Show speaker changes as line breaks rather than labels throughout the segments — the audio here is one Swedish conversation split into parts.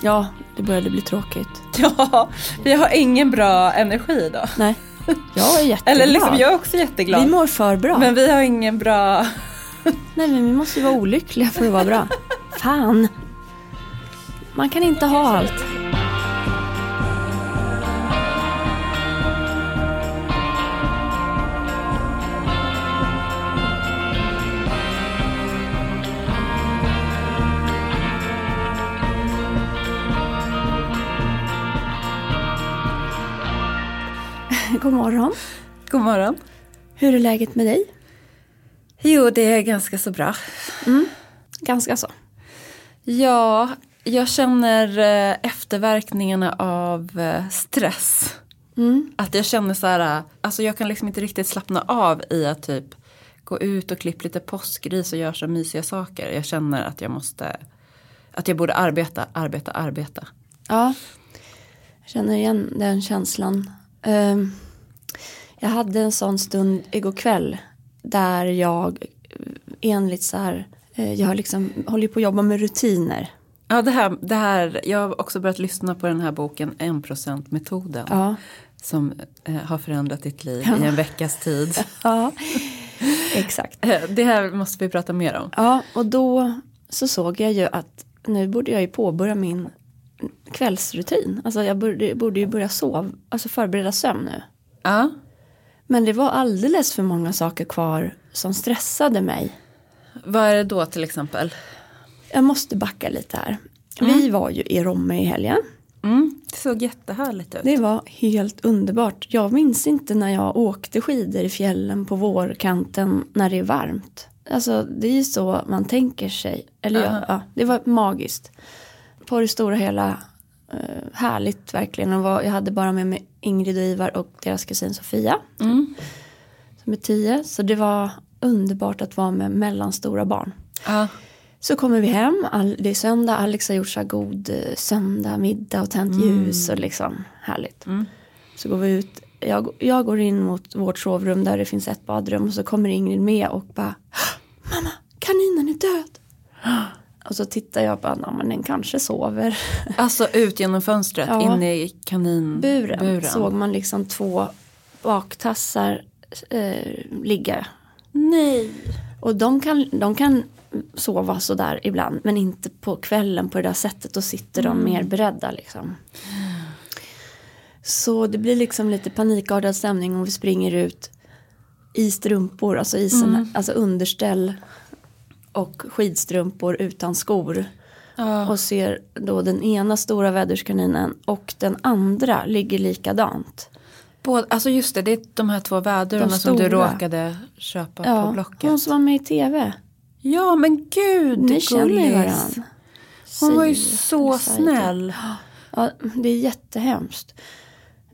Ja, det började bli tråkigt.
Ja, vi har ingen bra energi idag.
Nej, jag är jätteglad.
Eller liksom, jag är också jätteglad.
Vi mår för bra.
Men vi har ingen bra...
Nej, men vi måste ju vara olyckliga för att vara bra. Fan! Man kan inte ha allt. God morgon.
God morgon.
Hur är läget med dig?
Jo, det är ganska så bra.
Ganska så.
Ja, jag känner eh, efterverkningarna av eh, stress.
Mm.
Att jag känner så här, eh, alltså jag kan liksom inte riktigt slappna av i att typ gå ut och klippa lite påskris och göra så mysiga saker. Jag känner att jag måste, att jag borde arbeta, arbeta, arbeta.
Ja, jag känner igen den känslan. Ehm, jag hade en sån stund igår kväll där jag eh, enligt så här, eh, jag har liksom håller på att jobba med rutiner.
Ja, det här, det här, jag har också börjat lyssna på den här boken 1% metoden.
Ja.
Som eh, har förändrat ditt liv i en veckas tid.
ja, exakt.
Eh, Det här måste vi prata mer om.
Ja, och då så såg jag ju att nu borde jag ju påbörja min kvällsrutin. Alltså jag borde, borde ju börja sova, alltså förbereda sömn nu.
Ja,
Men det var alldeles för många saker kvar som stressade mig.
vad är det då till exempel?
Jag måste backa lite här. Vi var ju i Romme i helgen.
Mm, det såg jättehärligt ut.
Det var helt underbart. Jag minns inte när jag åkte skidor i fjällen på vårkanten när det är varmt. Alltså det är ju så man tänker sig. Eller ja,
Aha.
ja, det var magiskt. På det stora hela eh, härligt verkligen. Och var, jag hade bara med mig Ingrid och Ivar och deras kusin Sofia
Mm.
som är tio. Så det var underbart att vara med mellanstora barn.
Ja.
Så kommer vi hem, all, det är söndag, Alex har gjort så här god eh, söndagmiddag och tänt ljus och liksom härligt. Så går vi ut, jag, jag går in mot vårt sovrum där det finns ett badrum och så kommer Ingrid med och bara "Hå! Mamma, kaninen är död! Och så tittar jag bara, "Nå, men den kanske sover.
Alltså ut genom fönstret,
Ja.
in i kaninburen.
Buren, såg man liksom två baktassar eh, ligga.
Nej.
Och de kan, de kan sova sådär ibland men inte på kvällen på det där sättet. Då sitter de
Mm.
mer beredda liksom. Så det blir liksom lite panikartad stämning om vi springer ut i strumpor, alltså, i såna,
Mm.
alltså underställ och skidstrumpor utan skor.
Ja.
Och ser då den ena stora väderskaninen och den andra ligger likadant.
Både, alltså just det, det är de här två vädurarna
De
som du
stora.
råkade köpa på
Ja,
Blocket.
hon som var med i tv.
Ja men gud,
Ni känner ju
gullis.
varandra.
Hon var ju
Sil-
så
Saito.
snäll.
Ja, det är jättehemskt.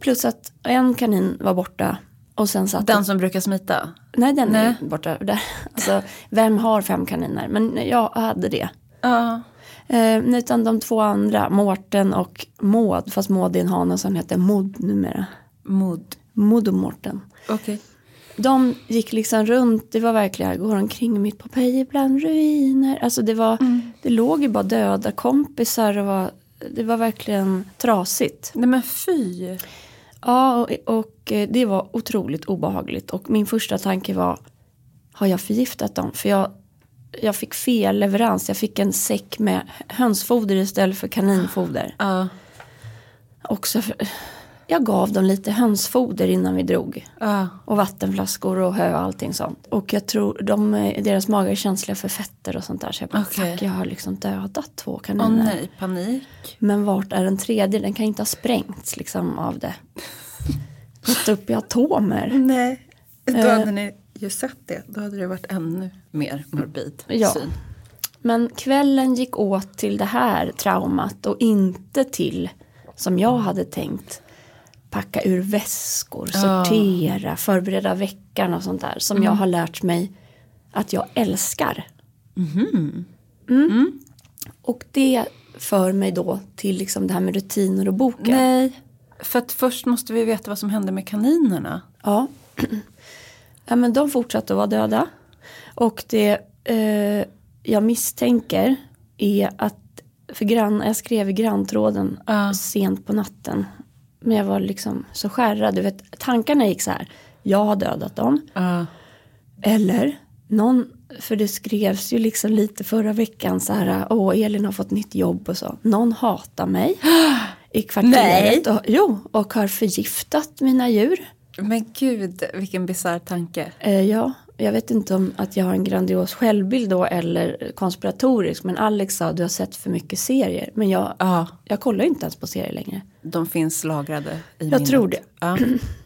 Plus att en kanin var borta och sen satt...
Den som brukar smita.
nej, den är
Nej.
ju borta. Där. Alltså, vem har fem kaniner? Men jag hade det.
Ja.
Eh, utan de två andra, Mårten och Maud, fast Maud är en hane som heter Mod numera.
Mod.
Maud och Mårten.
Okej.
De gick liksom runt, det var verkligen, jag går omkring mitt Pompeji bland ruiner. Alltså det var,
Mm.
det låg ju bara döda kompisar och var, det var verkligen trasigt.
Nej men fy.
Ja, och, och eh, det var otroligt obehagligt. Och min första tanke var, har jag förgiftat dem? För jag, jag fick fel leverans. Jag fick en säck med hönsfoder istället för kaninfoder.
Ja.
Och så, jag gav dem lite hönsfoder innan vi drog.
Ja.
Och vattenflaskor och hö och allting sånt. Och jag tror de, eh, deras magar är känsliga för fetter och sånt där. Så jag bara,
Okej.
fuck jag har liksom dödat två kaniner.
Åh nej, panik.
Men vart är den tredje? Den kan inte ha sprängts liksom av det. Gått upp i atomer.
Nej, då hade ni ju sett det. Då hade det varit ännu mer morbid
Ja.
syn.
Men kvällen gick åt till det här traumat och inte till, som jag hade tänkt, packa ur väskor, sortera, förbereda veckan och sånt där. Som jag har lärt mig att jag älskar. Mm. Och det för mig då till liksom det här med rutiner och boken.
Nej, för att först måste vi veta vad som hände med kaninerna.
Ja. ja men de fortsatte att vara döda. Och det eh, jag misstänker är att För grann, jag skrev i granntråden
Ja.
sent på natten. Men jag var liksom så skärrad. Du vet, tankarna gick så här. Jag har dödat dem.
Ja.
Eller någon, för det skrevs ju liksom lite förra veckan så här. Åh, Elin har fått nytt jobb och så. Någon hatar mig i kvarteret. Och, jo, och har förgiftat mina djur.
Men gud, vilken bisarr tanke.
Eh, ja, jag vet inte om att jag har en grandios självbild då eller konspiratorisk. Men Alex sa du har sett för mycket serier. Men jag,
Ja,
jag kollar ju inte ens på serier längre.
de finns lagrade i Jag
tror det.
Ja,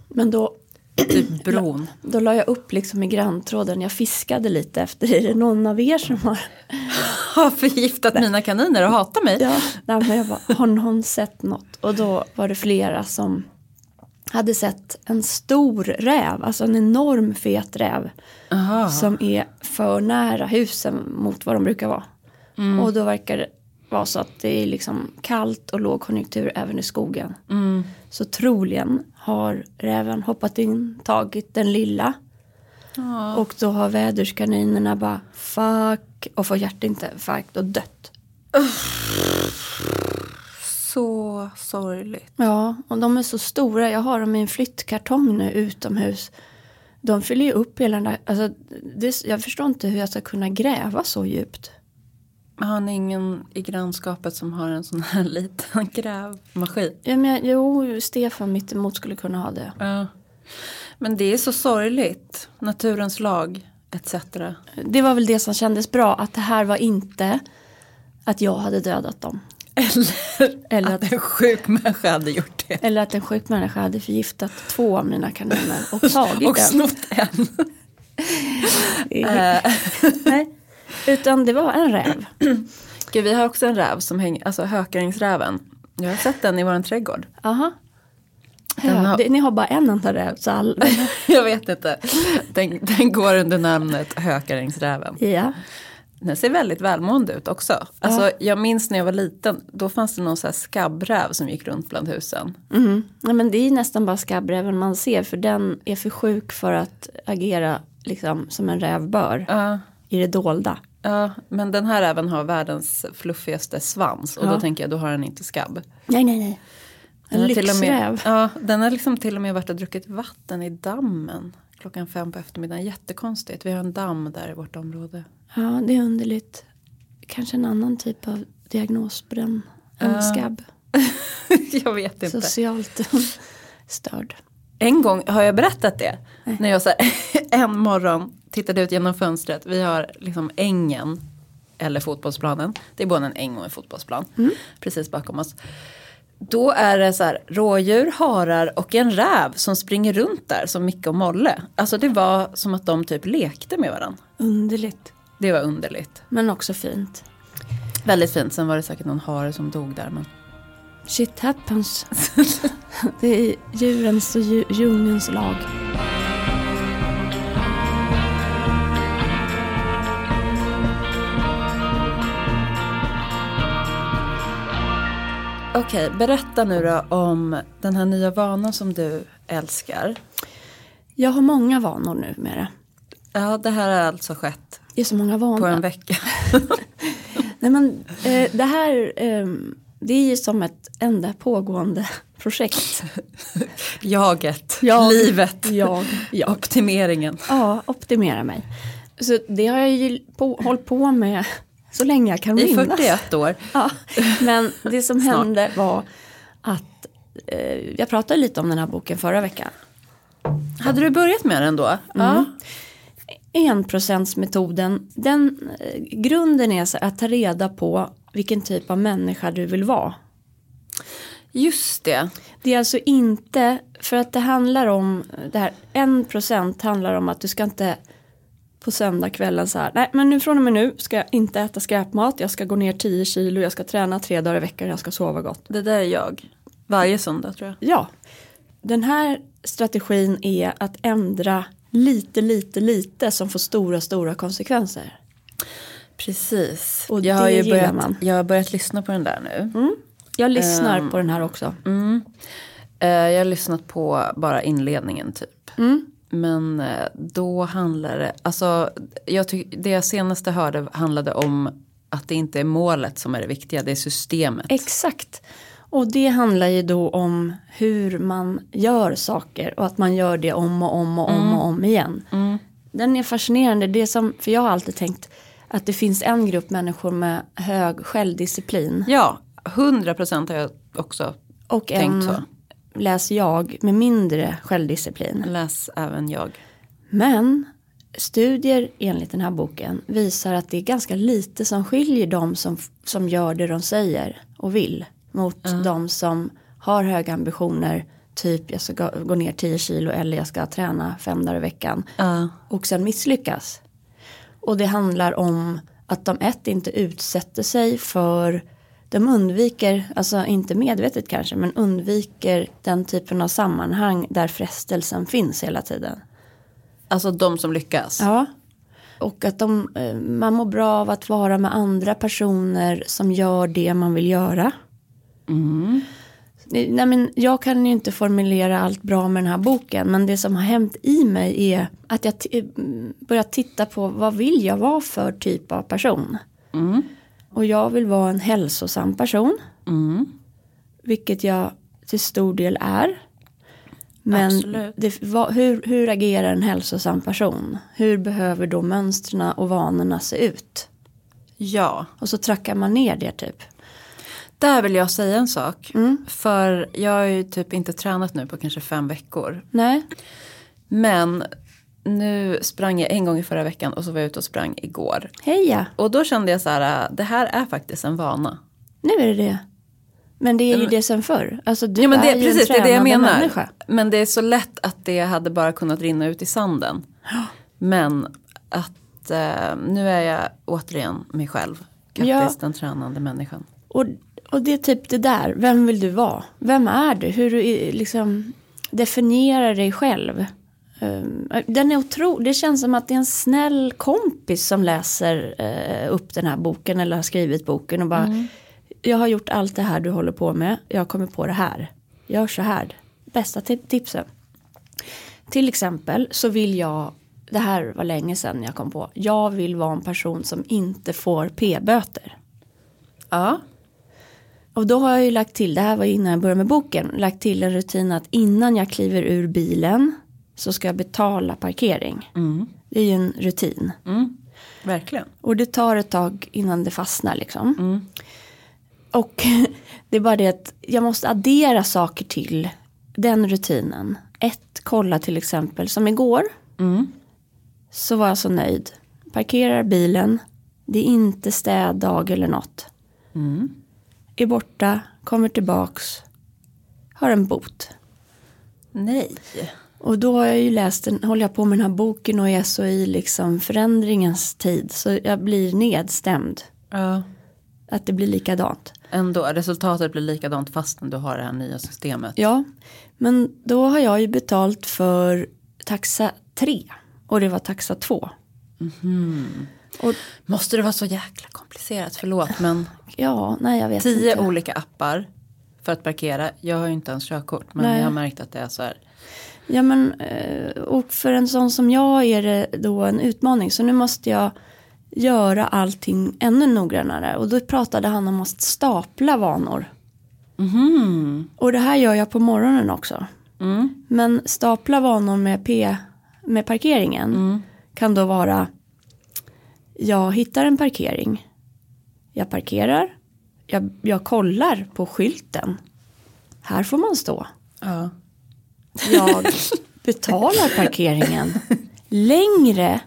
Men då,
typ bron.
då la jag upp liksom i granntråden. Jag fiskade lite efter är det någon av er som har.
Har förgiftat mina kaniner och hatar mig.
Ja, nej, men jag bara, har någon sett något? Och då var det flera som hade sett en stor räv, alltså en enorm fet räv.
Aha.
som är för nära husen mot vad de brukar vara. Och då verkar det vara så att det är liksom kallt och lågkonjunktur även i skogen.
Mm.
Så troligen har räven hoppat in, tagit den lilla
Ja.
och då har väderskaninerna bara fuck och får hjärtinfarkt och dött.
Så sorgligt.
Ja, och de är så stora. Jag har dem i en flyttkartong nu utomhus. De fyller ju upp hela den där, alltså, det, jag förstår inte hur jag ska kunna gräva så djupt.
Har ni ingen i grannskapet som har en sån här liten grävmaskin?
Ja, men, jo, Stefan mittemot skulle kunna ha det.
Ja. Men det är så sorgligt. Naturens lag, etc.
Det var väl det som kändes bra, att det här var inte att jag hade dödat dem.
Eller,
Eller
att en sjuk människa hade gjort det.
Eller att en sjuk människa hade förgiftat två av mina kaniner och tagit
Och
den.
snott en.
Eh, Nej. Utan det var en räv.
Gud, vi har också en räv som hänger, alltså hökarängsräven. Jag har sett den i vår trädgård.
Aha.
Den
Ja,
har-
det, ni har bara en enda räv så all...
Jag vet inte. Den, den går under namnet hökarängsräven.
Ja.
Den ser väldigt välmående ut också. Alltså, jag minns när jag var liten, då fanns det någon så här skabbräv som gick runt bland husen.
Mm. Nej, men det är nästan bara skabbräven man ser för den är för sjuk för att agera liksom, som en räv bör
Ja,
i det dolda.
ja, men den här räven har världens fluffigaste svans och då tänker jag då har den inte skabb.
Nej, nej, nej.
Den
En
har till och
lyxräv.
med, ja, den har liksom till och med varit och druckit vatten i dammen klockan fem på eftermiddagen. Jättekonstigt, vi har en damm där i vårt område.
Ja, det är underligt. Kanske en annan typ av diagnos på den. En skabb.
jag vet inte.
Socialt störd.
En gång, har jag berättat det? När jag så här, en morgon tittade ut genom fönstret. Vi har liksom ängen, eller fotbollsplanen. Det är både en äng och en fotbollsplan. Precis bakom oss. Då är det så här, rådjur, harar och en räv som springer runt där som Micke och Molle. Alltså det var som att de typ lekte med varandra.
Underligt.
Det var underligt.
Men också fint.
Väldigt fint, sen var det säkert någon hare som dog där. Men...
Shit happens. det är djurens och dju- djungelns lag.
Okej, berätta nu då om den här nya vanan som du älskar.
Jag har många vanor nu med det.
Ja, det här har alltså skett
Det är så många vanor.
på en vecka.
Nej men eh, det här, eh, det är ju som ett enda pågående projekt.
Jaget,
Jag.
livet,
Jag.
optimeringen.
Ja, optimera mig. Så det har jag ju på, hållit på med så länge jag kan
I
minnas.
41 år.
Ja, men det som
Snart.
hände var att eh, jag pratade lite om den här boken förra veckan.
Hade du börjat med den då? Ja.
Mm. Enprocentsmetoden, den eh, grunden är så att ta reda på vilken typ av människa du vill vara.
Just det.
Det är alltså inte, för att det handlar om, det här en procent handlar om att du ska inte på söndagskvällen så här, nej men nu från och med nu ska jag inte äta skräpmat, jag ska gå ner 10 kilo, jag ska träna tre dagar i veckan, jag ska sova gott.
Det där är jag. Varje söndag tror jag.
Ja, den här strategin är att ändra lite, lite, lite som får stora, stora konsekvenser.
Precis.
Och
jag, har
det
ju
gillar
börjat,
man. Mm.
jag har börjat lyssna på den där nu.
Jag lyssnar på den här också.
Mm. Eh, Jag har lyssnat på bara inledningen typ.
Mm.
Men eh, då handlar det, alltså jag tyck, det jag senaste hörde handlade om Att det inte är målet som är det viktiga, det är systemet.
Exakt. Och det handlar ju då om hur man gör saker och att man gör det om och om och om och om igen. Den är fascinerande, det är som, för jag har alltid tänkt att det finns en grupp människor med hög självdisciplin
Ja, 100 procent har jag också
och en
tänkt så.
läs jag med mindre självdisciplin.
Läs även jag.
Men studier enligt den här boken visar att det är ganska lite som skiljer de som, som gör det de säger och vill mot de som har höga ambitioner typ jag ska gå- gå ner 10 kilo eller jag ska träna fem dagar i veckan
Ja.
och sen misslyckas. Och det handlar om att de ett inte utsätter sig för de undviker, alltså inte medvetet kanske, men undviker den typen av sammanhang där frestelsen finns hela tiden.
Alltså de som lyckas.
Ja. Och att de, eh, man mår bra av att vara med andra personer som gör det man vill göra. Mm. Nej, men jag kan ju inte formulera allt bra med den här boken men det som har hänt i mig är att jag t- mm, börjar titta på vad vill jag vara för typ av person.
Mm.
Och jag vill vara en hälsosam person.
Mm.
Vilket jag till stor del är. Men
Absolut.
det, vad, hur, hur agerar en hälsosam person? Hur behöver då mönstren och vanorna se ut?
ja.
Och så trackar man ner det typ.
Där vill jag säga en sak. För jag har ju typ inte tränat nu på kanske fem veckor.
Nej,
Men nu sprang jag en gång i förra veckan och så var jag ute och sprang igår.
heja,
Och då kände jag så här, äh, det här är faktiskt en vana.
nu är det det. Men det är ju det sen förr. Alltså du
Ja, men
är
det,
ju
precis,
en
det är det jag
tränande
menar.
människa.
Men det är så lätt att det hade bara kunnat rinna ut i sanden. Men att eh, nu är jag återigen mig själv. Kattis,
Ja.
den tränande människan.
Och, och det är typ det där, vem vill du vara? Vem är du? Hur du eh, liksom definierar dig själv. Ehm, Den är otro, det känns som att det är en snäll kompis som läser eh, upp den här boken eller har skrivit boken och bara jag har gjort allt det här du håller på med, jag kommer på det här, gör så här, bästa ti- tipsen. Till exempel så vill jag, det här var länge sedan jag kom på, jag vill vara en person som inte får p-böter.
Ja.
Och då har jag ju lagt till, det här var ju innan jag började med boken, lagt till en rutin att innan jag kliver ur bilen så ska jag betala parkering.
Mm.
Det är ju en rutin.
Verkligen.
Och det tar ett tag innan det fastnar liksom. Och det är bara det att jag måste addera saker till den rutinen. Ett, kolla till exempel, som igår. Så var jag så nöjd. Parkerar bilen. Det är inte städdag eller något. Är borta, kommer tillbaks. Har en bot.
Nej.
Och då har jag ju läst, den, håller jag på med den här boken och är så i liksom förändringens tid. Så jag blir nedstämd.
Ja.
Att det blir likadant.
Ändå, resultatet blir likadant fastän du har det här nya systemet.
Ja, men då har jag ju betalt för taxa 3 och det var taxa 2. Och
Måste det vara så jäkla komplicerat? Förlåt men
ja, nej jag vet
tio
inte.
olika appar för att parkera. Jag har ju inte ens körkort men
Nej.
jag har märkt att det är så här.
Ja, men, eh, och för en sån som jag är det då en utmaning så nu måste jag göra allting ännu noggrannare och då pratade han om att stapla vanor.
Mm.
Och det här gör jag på morgonen också. Men stapla vanor med, P, med parkeringen kan då vara jag hittar en parkering, jag parkerar, jag, jag kollar på skylten, här får man stå
Ja.
jag betalar parkeringen längre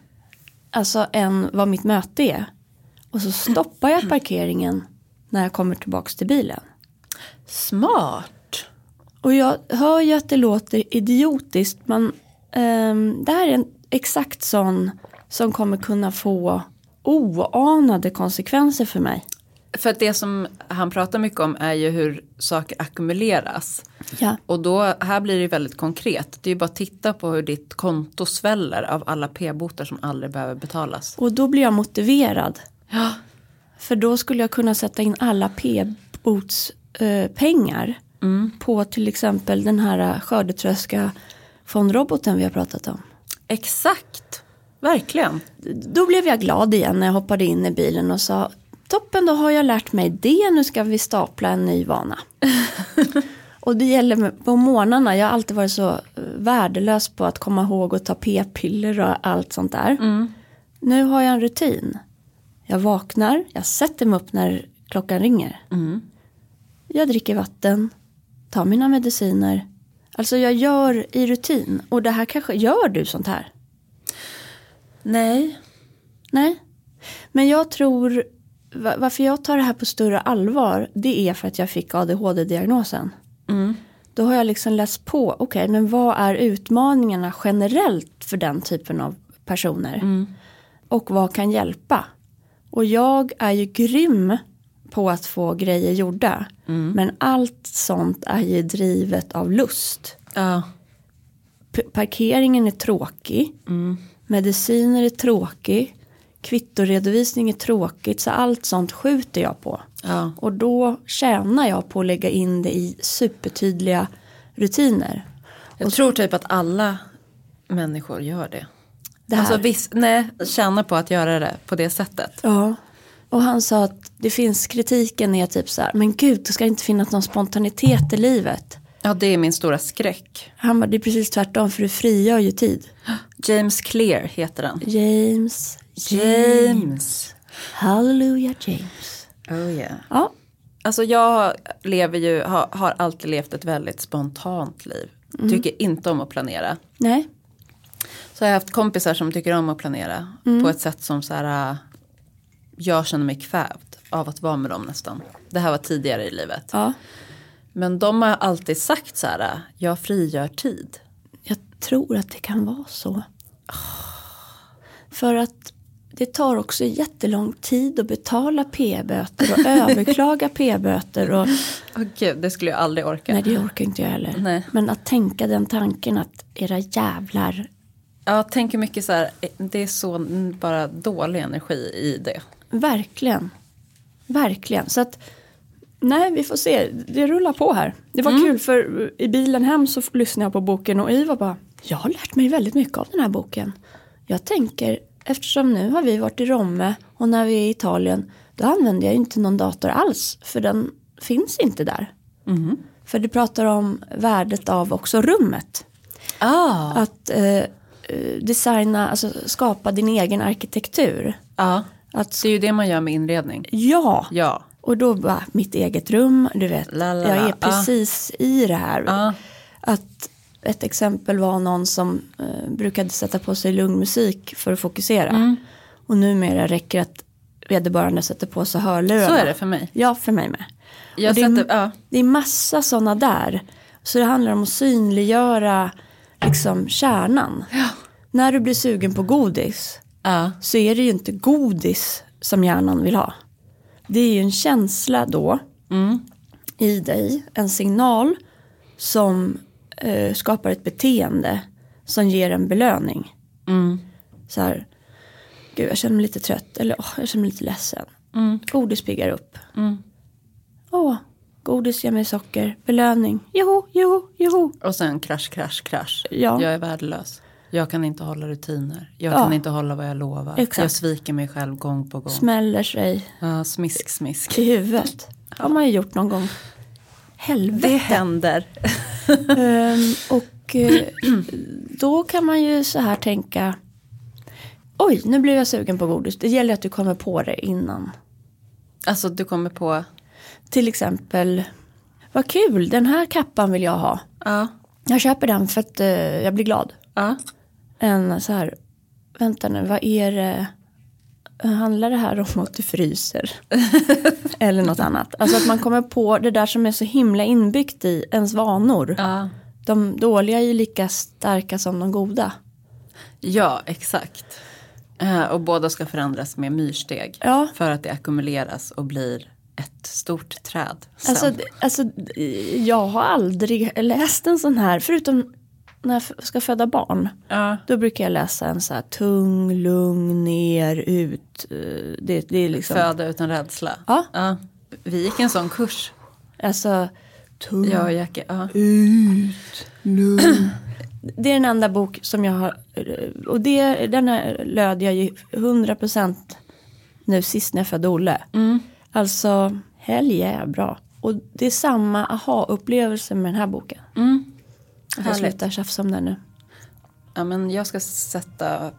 alltså, än vad mitt möte är. Och så stoppar jag parkeringen när jag kommer tillbaka till bilen.
Smart.
Och jag hör ju att det låter idiotiskt men ehm, det här är en exakt sån som kommer kunna få oanade konsekvenser för mig.
För att det som han pratar mycket om är ju hur saker ackumuleras.
Ja.
Och då, här blir det ju väldigt konkret. Det är ju bara att titta på hur ditt konto sväller av alla p-botar som aldrig behöver betalas.
Och då blir jag motiverad.
Ja.
För då skulle jag kunna sätta in alla p-botspengar på till exempel den här skördetröska fondroboten vi har pratat om.
Exakt. Verkligen.
Då blev jag glad igen när jag hoppade in i bilen och sa toppen då har jag lärt mig det, nu ska vi stapla en ny vana. och det gäller med- på morgnarna, jag har alltid varit så eh, värdelös på att komma ihåg att ta p-piller och allt sånt där. Nu har jag en rutin. Jag vaknar, jag sätter mig upp när klockan ringer.
Mm.
Jag dricker vatten, tar mina mediciner. Alltså jag gör i rutin. Och det här kanske, gör du sånt här?
Nej.
Nej. Men jag tror, va- varför jag tar det här på större allvar, det är för att jag fick ADHD-diagnosen. Då har jag liksom läst på, okej men vad är utmaningarna generellt för den typen av personer? Och vad kan hjälpa? Och jag är ju grym på att få grejer gjorda. Men allt sånt är ju drivet av lust.
Ja.
P- parkeringen är tråkig. Mediciner är tråkig. Kvittoredovisning är tråkigt. Så allt sånt skjuter jag på.
Ja.
Och då tjänar jag på att lägga in det i supertydliga rutiner.
Jag tror typ att alla människor gör det.
Det här.
Alltså viss, nej, tjänar på att göra det på det sättet.
Ja. Och han sa att det finns kritiken är typ så här. Men gud det ska inte finnas någon spontanitet i livet.
Ja, det är min stora skräck.
Han bara det är precis tvärtom för du frigör ju tid.
James Clear heter han.
James.
James.
Halleluja James.
Oh yeah.
Ja.
Alltså jag lever ju, har, har alltid levt ett väldigt spontant liv. Tycker inte om att planera.
Nej.
Så jag har haft kompisar som tycker om att planera på ett sätt som så här. äh, Jag känner mig kvävd av att vara med dem nästan. Det här var tidigare i livet.
Ja.
Men de har alltid sagt så här. äh, Jag frigör tid.
Jag tror att det kan vara så. För att det tar också jättelång tid att betala p-böter och överklaga p-böter. Och,
Åh gud, det skulle jag aldrig orka.
nej, det orkar inte jag heller.
Nej.
Men att tänka den tanken att era jävlar.
Jag tänker mycket så här. eh, Det är så mm, bara dålig energi i det.
Verkligen. Verkligen. Så att nej, vi får se. Det rullar på här. Det var kul för i bilen hem så f- lyssnade jag på boken och Iva bara, jag har lärt mig väldigt mycket av den här boken. Jag tänker, eftersom nu har vi varit i Romme och när vi är i Italien, då använder jag ju inte någon dator alls, för den finns inte där. För det pratar om värdet av också rummet.
Ah.
Att eh, eh, designa, alltså skapa din egen arkitektur.
Ja.
Att
Det är ju det man gör med inredning.
Ja,
Ja.
och då bara mitt eget rum, du vet,
La, la, la.
jag är
Ja.
precis i det här.
Ja.
Att ett exempel var någon som eh, brukade sätta på sig lugn musik för att fokusera.
Mm.
Och numera räcker att vederbörande sätter på sig hörlurarna.
Så är det för mig.
Ja, för mig med.
Jag
Och det, är,
sätter- ja.
det är massa sådana där. Så det handlar om att synliggöra liksom, kärnan. När du blir sugen på godis,
Ja.
så är det ju inte godis som hjärnan vill ha. Det är ju en känsla då i dig, en signal som eh, skapar ett beteende som ger en belöning.
Mm.
Så här, gud jag känner mig lite trött eller åh, jag känner mig lite ledsen. Godis piggar upp. Åh, godis ger mig socker, belöning, joho, joho, joho.
Och sen krasch, krasch, krasch.
Ja.
Jag är värdelös. Jag kan inte hålla rutiner. Jag
Ja.
kan inte hålla vad jag lovar.
Exakt.
Jag sviker mig själv gång på gång.
Smäller sig
Ja, smisk, smisk.
i huvudet. har man ju gjort någon gång. Helvete.
Det händer.
Ehm, och eh, då kan man ju så här tänka. Oj, nu blev jag sugen på godis. Det gäller att du kommer på det innan.
Alltså du kommer på...
Till exempel. Vad kul, den här kappan vill jag ha.
Ja.
Jag köper den för att eh, jag blir glad.
Ja.
En så här. Vänta nu, vad är det? Handlar det här om att du fryser? Eller något annat. Alltså att man kommer på det där som är så himla inbyggt i ens vanor.
Ja.
De dåliga är ju lika starka som de goda.
Ja, exakt. Eh, Och båda ska förändras med myrsteg.
Ja.
För att det ackumuleras och blir ett stort träd. sen.
Alltså, d- alltså, d- jag har aldrig läst en sån här, förutom när jag f- ska föda barn.
ja.
Då brukar jag läsa en så här tung, lugn, ner, ut. eh, Det, det är liksom,
Föda utan rädsla.
Ja.
Vi gick en sån kurs.
alltså tung,
Jag och Jackie. Ja.
Det är den enda eh, bok som jag har, och det, den här löd jag ju 100% nu sist när jag födde Olle.
Mm.
Alltså helg är bra. Och det är samma aha-upplevelse med den här boken.
Mm.
Jag får
Härligt.
sluta tjafsa om den nu.
Ja, men jag ska sätta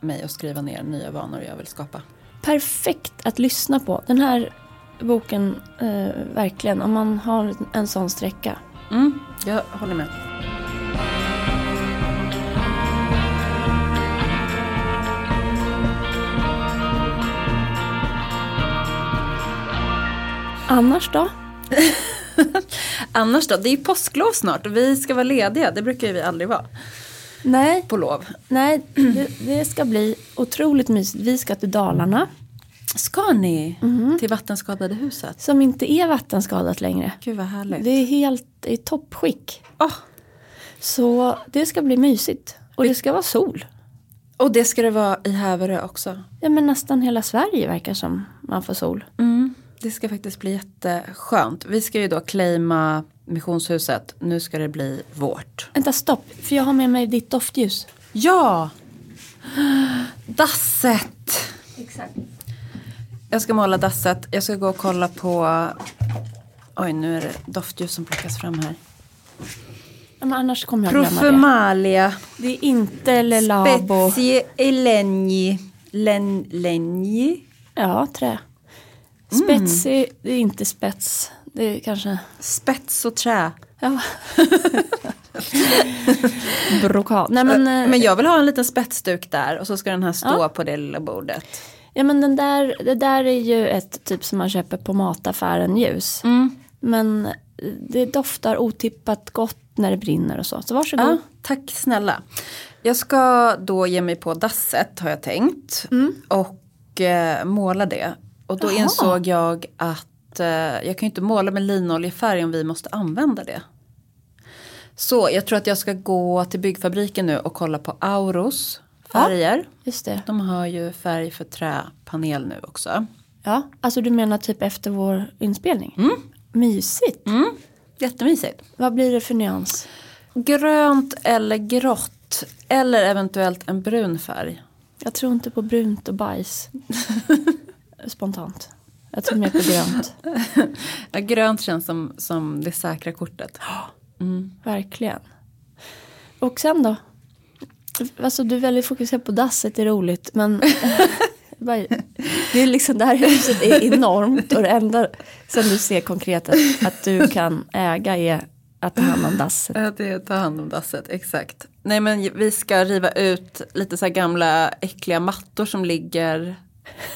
mig och skriva ner nya vanor jag vill skapa.
perfekt att lyssna på. Den här boken, eh, verkligen, om man har en sån sträcka.
Mm, jag håller med.
Annars då?
Annars då? Det är ju påsklov snart och vi ska vara lediga. Det brukar ju vi aldrig vara
Nej,
på lov.
nej det, det ska bli otroligt mysigt. Vi ska till Dalarna,
Ska ni till vattenskadade huset?
som inte är vattenskadat längre.
Gud vad härligt.
Det är helt i toppskick.
Åh,
Så det ska bli mysigt. Och det ska vara sol.
och det ska det vara i Häverö också.
Ja men nästan hela Sverige verkar som man får sol.
Det ska faktiskt bli jätteskönt. Vi ska ju då claima missionshuset. Nu ska det bli vårt.
Vänta stopp, för jag har med mig ditt doftljus.
Ja! Dasset!
Exakt.
Jag ska måla dasset. Jag ska gå och kolla på... Oj, nu är det doftljus som plockas fram här.
Ja, men annars kommer jag glömma det.
Profumalia.
Det är inte Lelabo.
Spezie elenji. Len, lenji.
Ja, trä.
Mm.
Spets är, det är inte spets. Det är kanske
Spets och trä.
ja. brokad. Nej men, eh,
Men jag vill ha en liten spetsduk där och så ska den här stå
Ja.
på det lilla bordet.
ja, men den där, det där är ju ett typ som man köper på mataffären ljus.
Mm.
Men eh, det doftar otippat gott när det brinner och så. Så varsågod.
Ja, tack snälla. Jag ska då ge mig på dasset har jag tänkt. Och eh, måla det. Och då
Jaha.
insåg jag att eh, jag kan ju inte måla med linoljefärg om vi måste använda det. Så jag tror att jag ska gå till byggfabriken nu och kolla på Auros färger.
Just det.
De har ju färg för träpanel nu också.
Ja, alltså du menar typ efter vår inspelning? Mysigt.
Mm. Jättemysigt.
Vad blir det för nyans?
Grönt eller grått eller eventuellt en brun färg.
Jag tror inte på brunt och bajs. Spontant. Jag tror mer på grönt.
Ja, grönt känns som, som det säkra kortet. Mm.
Verkligen. Och sen då? Alltså du är väldigt fokuserad på dasset, det är roligt men bara- det, är liksom, det här huset är enormt och det enda som du ser konkret att, att du kan äga är att ta hand om dasset.
Ja, det är att ta hand om dasset, exakt. Nej men vi ska riva ut lite så här gamla äckliga mattor som ligger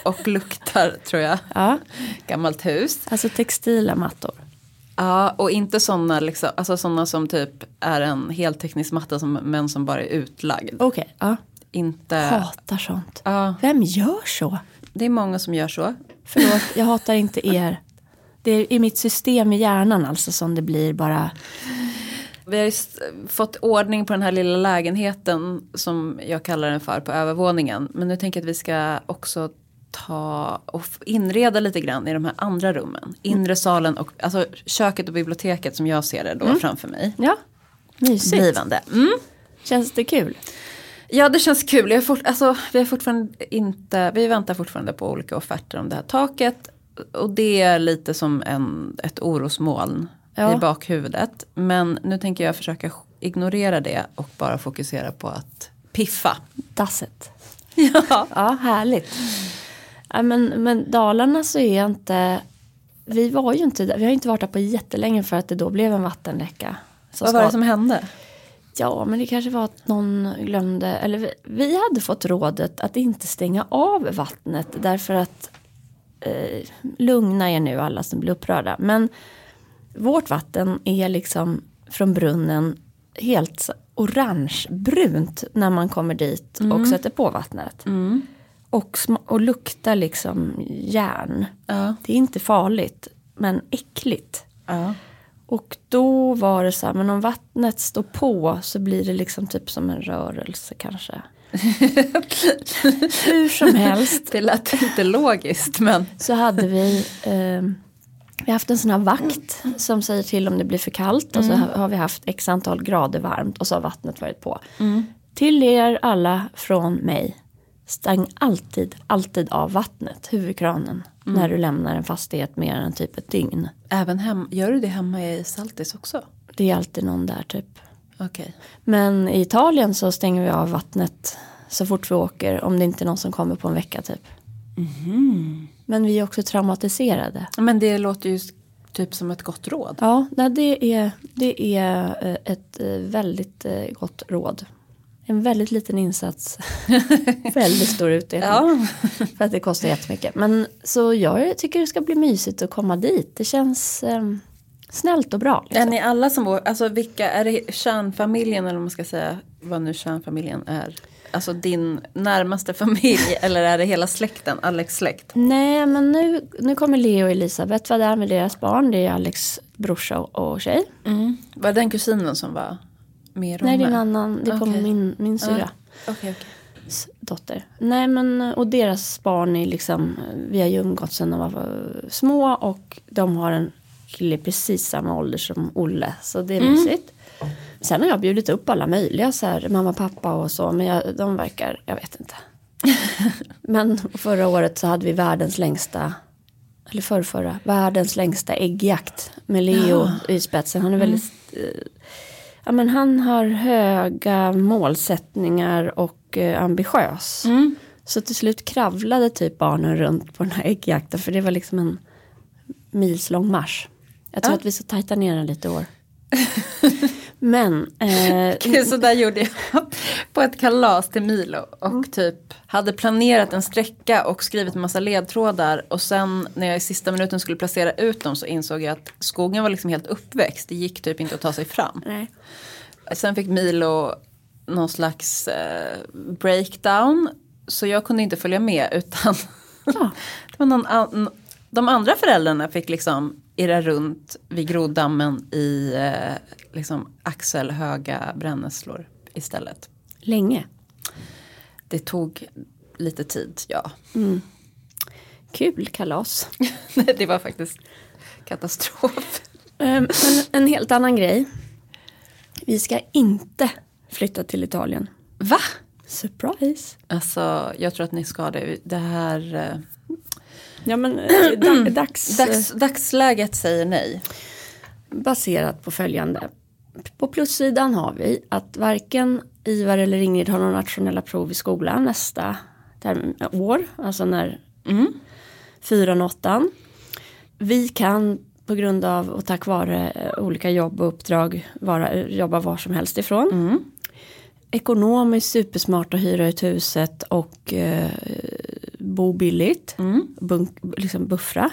och luktar tror jag.
Ja,
Gammalt hus.
alltså textila mattor.
Ja, och inte sådana liksom, alltså såna som typ är en helteknisk matta som, men som bara är utlagd.
Okej, ja.
Inte...
hatar sånt.
Ja,
Vem gör så?
det är många som gör så.
Förlåt, jag hatar inte er. Det är i mitt system i hjärnan alltså som det blir bara
Vi har ju s- fått ordning på den här lilla lägenheten som jag kallar den för på övervåningen. Men nu tänker jag att vi ska också ta och f- inreda lite grann i de här andra rummen. Inre salen och alltså köket och biblioteket som jag ser det då framför mig.
ja, mysigt.
Blivande. Mm.
Känns det kul?
Ja det känns kul. Jag har fort, alltså, vi, har fortfarande inte, vi väntar fortfarande på olika offerter om det här taket. Och det är lite som en, ett orosmoln
Ja.
i bakhuvudet. Men nu tänker jag försöka ignorera det och bara fokusera på att piffa.
Dasset.
Ja.
Ja, härligt. Ja, men, men Dalarna så är jag inte... Vi var ju inte där. Vi har ju inte varit där på jättelänge för att det då blev en vattenläcka. Så
Vad var det som hände?
Ja, men det kanske var att någon glömde... Eller vi, vi hade fått rådet att inte stänga av vattnet därför att... Eh, lugna er nu alla som blir upprörda. Men vårt vatten är liksom från brunnen helt så- orangebrunt när man kommer dit och sätter på vattnet. Och, sma- och luktar liksom järn.
Ja.
Det är inte farligt, men äckligt.
Ja.
Och då var det så här, men om vattnet står på så blir det liksom typ som en rörelse kanske. Hur som helst
Det lät inte logiskt men.
så hade vi, eh, vi har haft en sån här vakt som säger till om det blir för kallt och så har har vi haft x antal grader varmt och så har vattnet varit på. Till er alla från mig, Stäng alltid, alltid av vattnet, huvudkranen, när du lämnar en fastighet mer än typ ett dygn.
Även hem, gör du det hemma i Saltis också?
Det är alltid någon där typ.
Okej.
Men i Italien så stänger vi av vattnet så fort vi åker om det inte är någon som kommer på en vecka typ. Men vi är också traumatiserade.
Men det låter ju s- typ som ett gott råd.
Ja, nej, det är, det är eh, ett eh, väldigt eh, gott råd. En väldigt liten insats. väldigt stor utdelning. För att det kostar jättemycket. Men så jag tycker det ska bli mysigt att komma dit. Det känns eh, snällt och bra.
Är
Liksom.
ni alla som bor, alltså vilka, är det kärnfamiljen eller vad man ska säga, vad nu kärnfamiljen är? Alltså din närmaste familj eller är det hela släkten, Alex släkt?
Nej, men nu, nu kommer Leo och Elisabeth vara där med deras barn. Det är Alex brorsa och, och tjej.
Var det den kusinen som var med dem?
Mm. Nej, det är en
här?
annan. Det kommer
Okej.
min, min syrra.
Okej, okej.
dotter. Nej men och deras barn är liksom, vi har ju umgåtts sedan de var eh, små och de har en kille precis samma ålder som Olle så det är mysigt. Sen har jag bjudit upp alla möjliga så här, mamma, pappa och så men jag, de verkar, jag vet inte. men förra året så hade vi världens längsta eller förrförra, världens längsta äggjakt med Leo i spetsen. Han är väldigt eh, Ja, men han har höga målsättningar och eh, ambitiös. Så till slut kravlade typ barnen runt på den här äggjakten för det var liksom en milslång marsch. Jag tror
Ja.
att vi ska tajta ner den lite i år. men eh,
Gud, Så där gjorde jag på ett kalas till Milo och
Mm.
typ hade planerat en sträcka och skrivit en massa ledtrådar och sen när jag i sista minuten skulle placera ut dem så insåg jag att skogen var liksom helt uppväxt, det gick typ inte att ta sig fram.
nej.
Sen fick Milo någon slags eh, breakdown. Så jag kunde inte följa med utan
Ja.
det var någon an- de andra föräldrarna fick liksom irra runt vid groddammen i eh, liksom axelhöga brännässlor istället.
länge.
Det tog lite tid, ja.
Kul kalas.
Nej, det var faktiskt katastrof.
Ehm, men en helt annan grej. Vi ska inte flytta till Italien.
Va?
Surprise.
Alltså, jag tror att ni ska det. Det här... Eh,
Ja men eh, da- dags.
dags, dagsläget säger nej.
baserat på följande. På plussidan har vi att varken Ivar eller Ingrid har några nationella prov i skolan nästa term- år, alltså när fyran och åttan. Vi kan på grund av och tack vare eh, olika jobb och uppdrag vara, jobba var som helst ifrån. Ekonomiskt supersmart att hyra ut huset och eh, bo billigt, bunk, liksom buffra.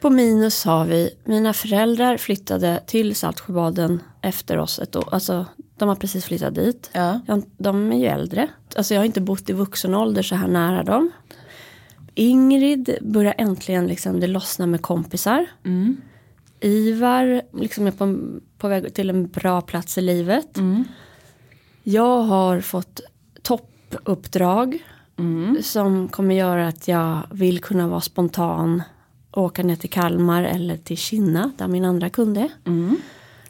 På minus har vi, mina föräldrar flyttade till Saltsjöbaden efter oss ett år, alltså de har precis flyttat dit.
Ja.
Jag, de är ju äldre, alltså jag har inte bott i vuxen ålder så här nära dem. Ingrid börjar äntligen liksom, det lossna med kompisar. Ivar liksom är på, på väg till en bra plats i livet. Jag har fått toppuppdrag som kommer göra att jag vill kunna vara spontan. Åka ner till Kalmar eller till Kina där min andra kund är.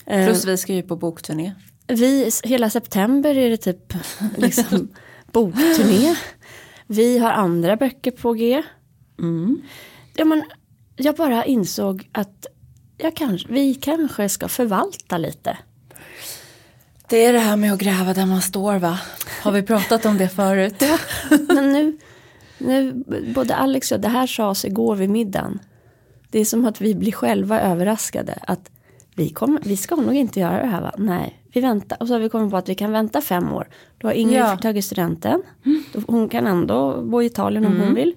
Eh,
Plus vi ska ju på bokturné.
vi, hela september är det typ liksom, bokturné. Vi har andra böcker på G. Ja, men, jag bara insåg att jag kanske, vi kanske ska förvalta lite.
Det är det här med att gräva där man står va? Har vi pratat om det förut?
Men nu, nu, både Alex och det här sades igår vid middagen. Det är som att vi blir själva överraskade. Att vi, kommer, vi ska nog inte göra det här va? Nej, vi väntar. Och så har vi kommit på att vi kan vänta fem år. Då har Ingrid
Ja.
tagit studenten. Då, hon kan ändå bo i Italien om
Mm.
hon vill.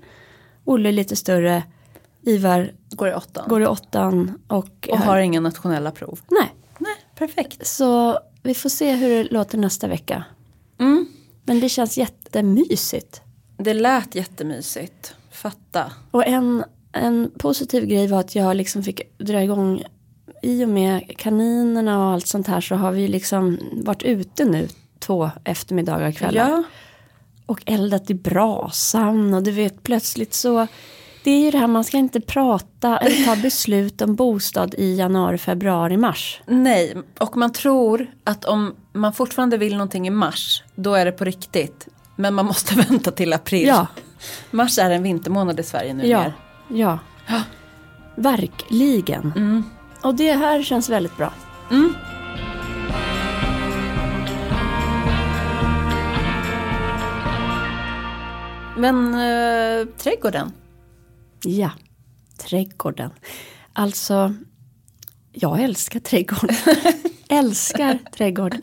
Olle är lite större. Ivar
Går i åttan.
går i åttan och,
och har inga nationella prov.
Nej,
Nej, perfekt.
så vi får se hur det låter nästa vecka.
Mm.
Men det känns jättemysigt.
Det lät jättemysigt. Fatta.
Och en, en positiv grej var att jag liksom fick dra igång i och med kaninerna och allt sånt här så har vi liksom varit ute nu två eftermiddagar och kvällar.
Ja.
Och eldat i brasan och du vet plötsligt så det är ju det här man ska inte prata eller ta beslut om bostad i januari, februari, mars.
Nej, och man tror att om man fortfarande vill någonting i mars, då är det på riktigt. Men man måste vänta till april.
Ja.
Mars är en vintermånad i Sverige nu.
Ja,
mer.
ja.
Ja.
Verkligen.
Mm.
Och det här känns väldigt bra.
Mm. Men eh, trädgården?
Ja, trädgården. Alltså, jag älskar trädgård. älskar trädgård.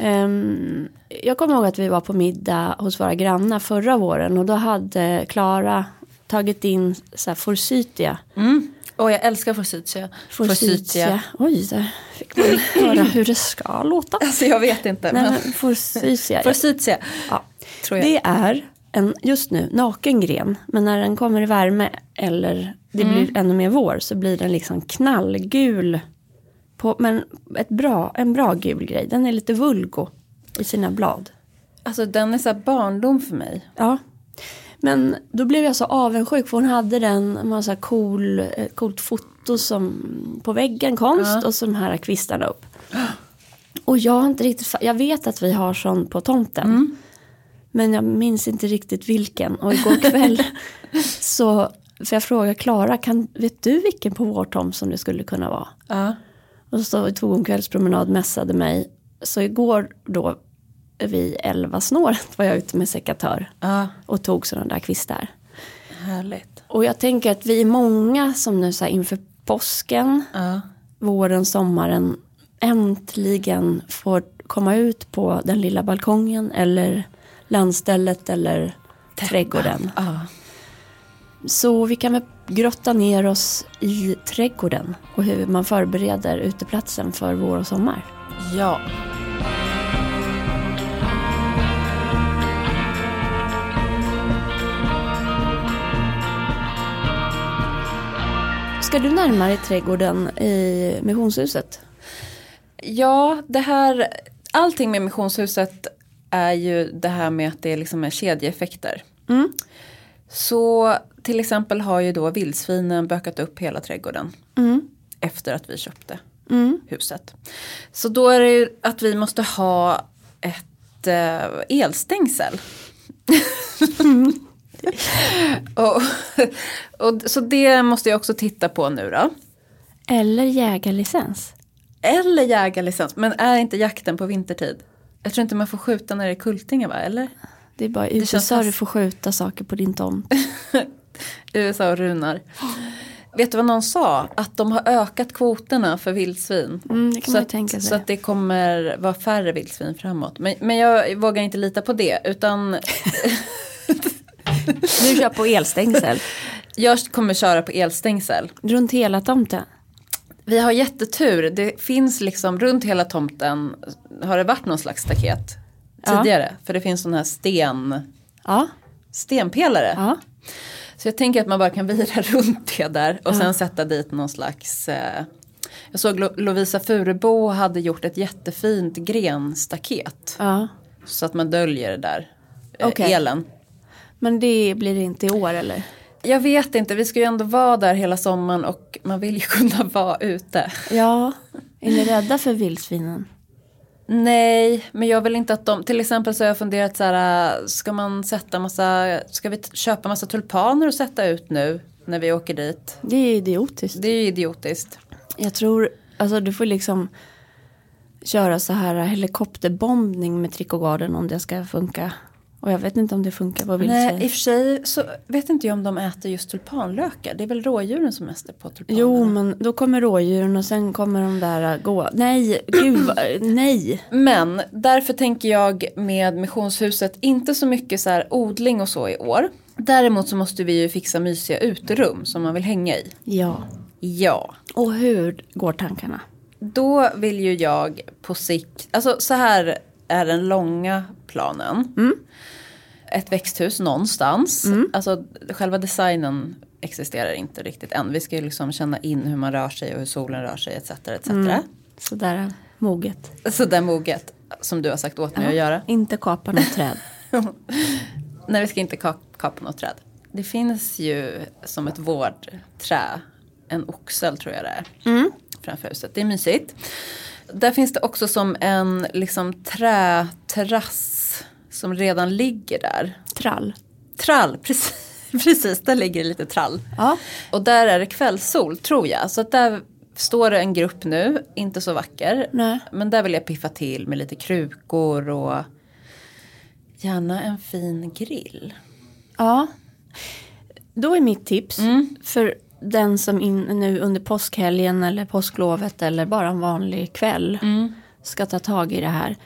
Ehm, jag kommer ihåg att vi var på middag hos våra grannar förra våren och då hade Klara tagit in så här forsythia.
Mm. Och jag älskar forsythia.
Forsythia. Oj, där fick man höra hur det ska låta.
Alltså jag vet inte.
Nej,
men...
men forsythia. ja.
Forsythia.
Ja.
Tror jag.
Det är en just nu naken gren, men när den kommer i värme eller det blir ännu mer vår så blir den liksom knallgul. På, men ett bra, en bra gul grej, den är lite vulgo i sina blad.
Alltså den är så här barndom för mig.
Ja. Men då blev jag så avundsjuk för hon hade den, man har så här cool, eh, coolt foto som på väggen, konst och så de här kvistarna upp. Och jag har inte riktigt, fa- jag vet att vi har sån på tomten. Men jag minns inte riktigt vilken och igår kväll så, för jag frågade Klara, kan, vet du vilken på vår tomt som det skulle kunna vara?
Ja.
Och så tog hon kvällspromenad, mässade mig. Så igår då vid elva snåret var jag ute med sekatör
Ja,
och tog sådana där kvistar.
härligt.
Och jag tänker att vi är många som nu så här inför påsken,
Ja.
våren, sommaren äntligen får komma ut på den lilla balkongen eller landstället eller trädgården.
Ja.
Så vi kan väl grotta ner oss i trädgården och hur man förbereder uteplatsen för vår och sommar.
ja.
Ska du närmare trädgården i missionshuset?
Ja, det här, allting med missionshuset är ju det här med att det liksom är kedjeeffekter.
Mm.
Så till exempel har ju då vildsvinen bökat upp hela trädgården
Mm.
efter att vi köpte
Mm.
huset. Så då är det ju att vi måste ha ett eh, elstängsel. och, och, så det måste jag också titta på nu då.
Eller jägarlicens?
Eller jägarlicens, men är inte jakten på vintertid? Jag tror inte man får skjuta när det är kultingar va, eller?
Det är bara i
känns
USA du
fast-
får skjuta saker på din tomt.
USA och runar. Vet du vad någon sa? Att de har ökat kvoterna för vildsvin.
Mm, det kan
så
man ju
att,
tänka sig.
Så att det kommer vara färre vildsvin framåt. Men, men jag vågar inte lita på det. Utan
Du kör på elstängsel.
jag kommer köra på elstängsel.
Runt hela tomten.
Vi har jättetur. Det finns liksom runt hela tomten. Har det varit någon slags staket?
Ja.
Tidigare. För det finns sådana här sten,
Ja.
stenpelare.
ja.
Så jag tänker att man bara kan vira runt det där och sen sätta dit någon slags... Eh, jag såg Lo- Lovisa Furebo hade gjort ett jättefint grenstaket.
ja.
Så att man döljer det där eh,
Okej.
elen.
Men det blir det inte i år eller?
Jag vet inte, vi ska ju ändå vara där hela sommaren och man vill ju kunna vara ute.
Ja. Är ni rädda för vildsvinen?
Nej, men jag vill inte att de, till exempel så har jag funderat så här, äh, ska man sätta massa, ska vi t- köpa massa tulpaner och sätta ut nu när vi åker dit?
Det är idiotiskt.
Det är ju idiotiskt.
Jag tror, alltså du får liksom köra så här helikopterbombning med trikogarden om det ska funka. Och jag vet inte om det funkar på vildsvin.
Nej, i och för sig så vet inte jag om de äter just tulpanlökar. Det är väl rådjuren som mest är på tulpaner?
Jo, men då kommer rådjuren och sen kommer de där äh, gå. Nej, gud, vad- nej.
Men därför tänker jag med missionshuset inte så mycket så här odling och så i år. Däremot så måste vi ju fixa mysiga uterum som man vill hänga i.
Ja.
Ja,
Och hur går tankarna?
då vill ju jag på sikt, alltså så här är den långa planen. Ett växthus någonstans. Alltså själva designen existerar inte riktigt än. Vi ska ju liksom känna in hur man rör sig och hur solen rör sig etc. etc.
Mm. Sådär moget.
Så där moget som du har sagt åt mig att göra.
Inte kapa något träd.
Nej, vi ska inte ka- kapa något träd. Det finns ju som ett vårdträ, en oxel tror jag det är, framför huset. Det är mysigt. Där finns det också som en liksom träterrass som redan ligger där.
Trall.
Trall, precis. Precis, där ligger det lite trall.
Ja.
Och där är det kvällssol tror jag. Så att där står det en grupp nu, inte så vacker.
Nej.
Men där vill jag piffa till med lite krukor och gärna en fin grill.
Ja. Då är mitt tips för den som in, nu under påskhelgen eller påsklovet eller bara en vanlig kväll ska ta tag i det här.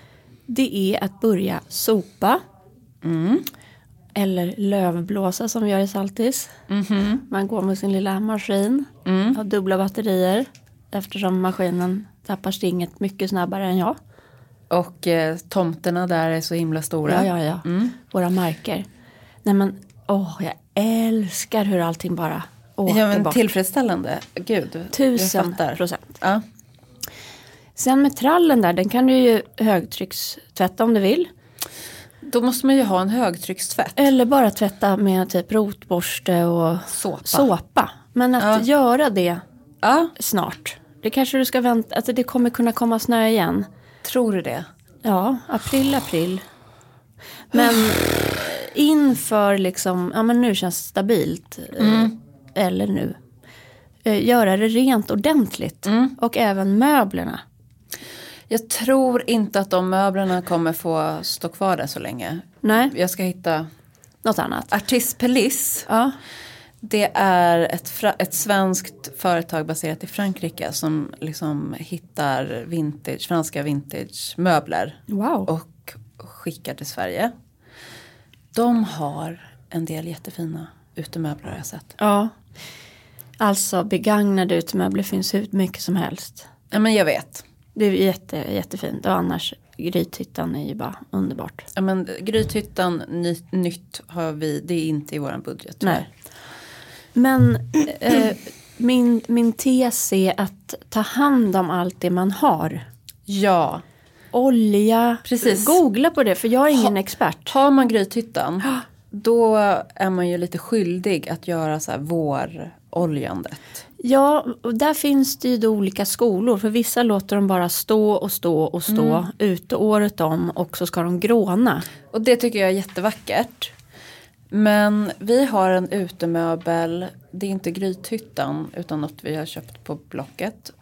Det är att börja sopa. Eller lövblåsa som vi gör i Saltis. Man går med sin lilla maskin och dubbla batterier eftersom maskinen tappar stinget mycket snabbare än jag.
Och eh, tomterna där är så himla stora.
Ja, ja, ja.
Mm.
Våra marker. Nej men, åh, jag älskar hur allting bara åker
Ja, men
bort.
tillfredsställande. Gud, jag
Tusen
fattar.
procent.
Ja.
Sen med trallen där, den kan du ju högtryckstvätta om du vill.
Då måste man ju ha en högtryckstvätt.
Eller bara tvätta med typ rotborste och
Såpa.
såpa. Men att göra det
Ja,
snart. Det kanske du ska vänta, alltså det kommer kunna komma snö igen.
tror du det?
Ja, april, april. Men inför liksom, ja men nu känns det stabilt. eh, Eller nu. Eh, Göra det rent ordentligt. Och även möblerna.
Jag tror inte att de möblerna kommer få stå kvar där så länge.
Nej,
Jag ska hitta
något annat.
Artist Peliss.
Ja,
Det är ett, fra- ett svenskt företag baserat i Frankrike som liksom hittar vintage, franska vintage-möbler
wow.
och skickar till Sverige. De har en del jättefina utemöbler har jag sett.
Ja. Alltså begagnade utemöbler finns hur mycket som helst.
Ja men jag vet.
Det är jätte, jättefint och annars Grythyttan är ju bara underbart.
Ja, men Grythyttan ny, nytt har vi, det är inte i vår budget. tyvärr.
Nej. Men eh, min, min tes är att ta hand om allt det man har.
Ja,
Olja,
Precis.
googla på det för jag är ingen expert.
tar man Grythyttan då är man ju lite skyldig att göra så här våroljandet.
Ja, och där finns det ju då olika skolor. För vissa låter dem bara stå och stå och stå ute året om och så ska de gråna.
Och det tycker jag är jättevackert. Men vi har en utemöbel, det är inte Grythyttan utan något vi har köpt på Blocket.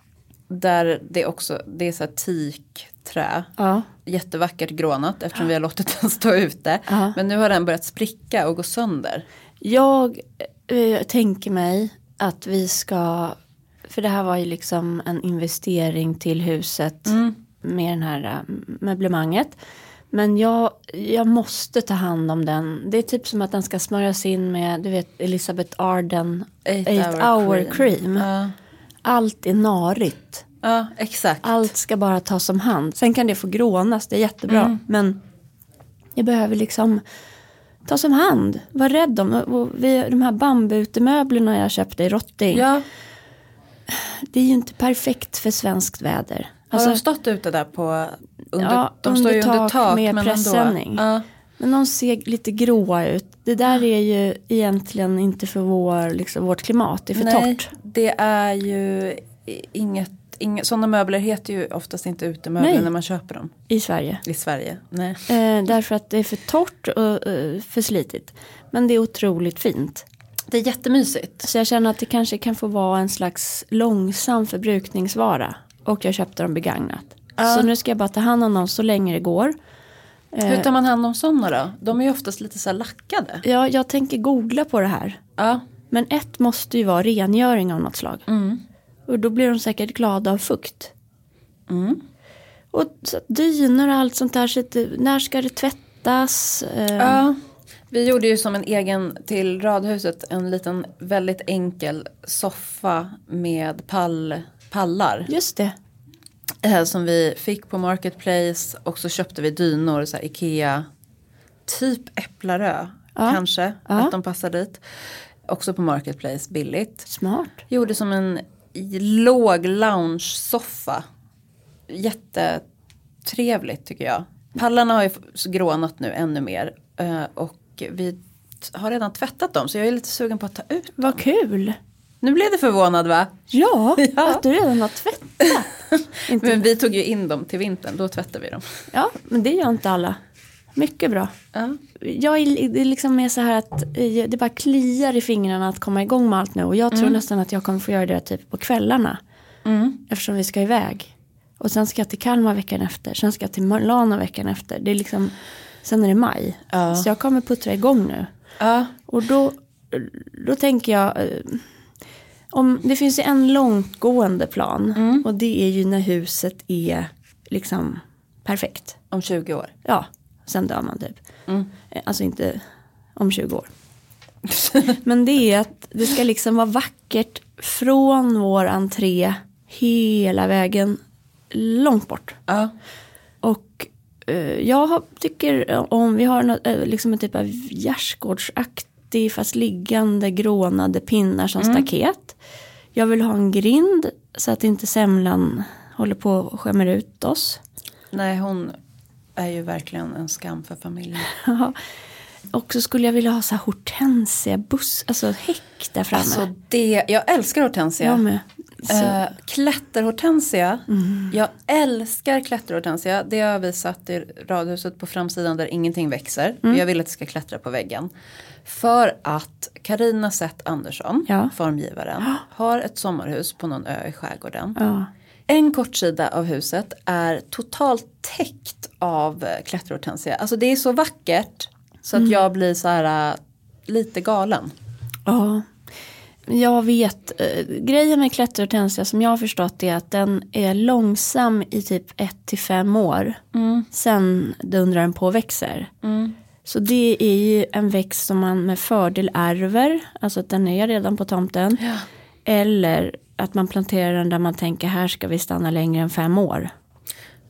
Där det också, det är så här teakträ.
Ja.
Jättevackert grånat eftersom vi har låtit den stå ute.
Ja.
Men nu har den börjat spricka och gå sönder.
Jag eh, tänker mig att vi ska, för det här var ju liksom en investering till huset med den här eh, möblemanget. Men jag, jag måste ta hand om den. Det är typ som att den ska smörjas in med, du vet, Elisabeth Arden
Eight
8 hour,
hour
cream.
Ja,
Allt är narigt.
ja exakt.
Allt ska bara tas om hand. Sen kan det få grånas, det är jättebra.
Mm.
Men jag behöver liksom tas om hand. Var rädd om. Och vi, de här bambuutemöblerna jag köpte i Rotting.
Ja,
Det är ju inte perfekt för svenskt väder.
har
Alltså,
de stått ute där på under,
Ja,
de står ju
under
under
tak
tak
med
men
presenning.
ändå. Ja.
Men de ser lite gråa ut. Det där är ju egentligen inte för vår, liksom, vårt klimat. Det är för
Nej,
torrt.
det är ju i- inget, inget sådana möbler heter ju oftast inte utemöbler
Nej.
när man köper dem
I Sverige.
i Sverige. Nej.
Eh, därför att det är för torrt och eh, för slitigt. Men det är otroligt fint.
Det är jättemysigt.
Så jag känner att det kanske kan få vara en slags långsam förbrukningsvara. Och jag köpte dem begagnat. Så nu ska jag bara ta hand om dem så länge det går.
Hur tar man hand om sådana då? De är ju oftast lite så här lackade.
Ja, jag tänker googla på det här.
Ja.
Men ett måste ju vara rengöring av något slag.
Mm.
Och då blir de säkert glada av fukt. Och så att dynor och allt sånt där. Så att det- när ska det tvättas? Eh,
ja. Vi gjorde ju som en egen till radhuset en liten väldigt enkel soffa med pall, pallar.
Just det.
eh, som vi fick på Marketplace och så köpte vi dynor, så här Ikea, typ Äpplarö kanske, att de passar dit. Också på Marketplace, billigt.
Smart.
Gjorde som en i- låg lounge-soffa. Jättetrevligt tycker jag. Pallarna har ju f- grånat nu ännu mer eh, och vi t- har redan tvättat dem så jag är lite sugen på att ta ut.
Vad kul.
Nu blev du förvånad va?
Ja,
Ja.
att du redan har tvättat. Inte
Men vi tog ju in dem till vintern, då tvättade vi dem.
Ja, men det gör inte alla. Mycket bra.
Ja.
Jag är det liksom är så här att eh, det bara kliar i fingrarna att komma igång med allt nu. Och jag tror nästan att jag kommer få göra det typ på kvällarna. Eftersom vi ska iväg. Och sen ska jag till Kalmar veckan efter. Sen ska jag till Milano veckan efter. Det är liksom, sen är det maj.
Ja.
Så jag kommer puttra igång nu.
ja.
Och då, då tänker jag, eh, om, det finns ju en långtgående plan och det är ju när huset är liksom perfekt.
Om 20 år.
Ja, sen dör man typ. Eh, Alltså inte om 20 år. Men det är att det ska liksom vara vackert från vår entré hela vägen långt bort.
Ja.
Och eh, jag har- tycker om vi har något, eh, liksom en typ av gärdsgårdsaktig fast liggande grånade pinnar som staket. Jag vill ha en grind så att inte semlan håller på och skämmer ut oss.
Nej, hon är ju verkligen en skam för familjen.
Ja. och så skulle jag vilja ha så här hortensiabuss, alltså häck där framme.
Alltså det, jag älskar hortensia.
jag med. Så,
Eh, klätterhortensia. Jag älskar klätterhortensia. Det har vi satt i radhuset på framsidan där ingenting växer. Jag vill att det ska klättra på väggen. För att Karina Sett Andersson,
Ja.
formgivaren, har ett sommarhus på någon ö i skärgården.
ja.
En kortsida av huset är totalt täckt av eh, klätterhortensia. Alltså det är så vackert så att jag blir så här eh, lite galen.
Ja, jag vet. eh, Grejen med klätterhortensia som jag har förstått är att den är långsam i typ 1 till 5 år. Sen dundrar den på och växer. Så det är ju en växt som man med fördel ärver, alltså att den är redan på tomten. Eller att man planterar den där man tänker här ska vi stanna längre än fem år.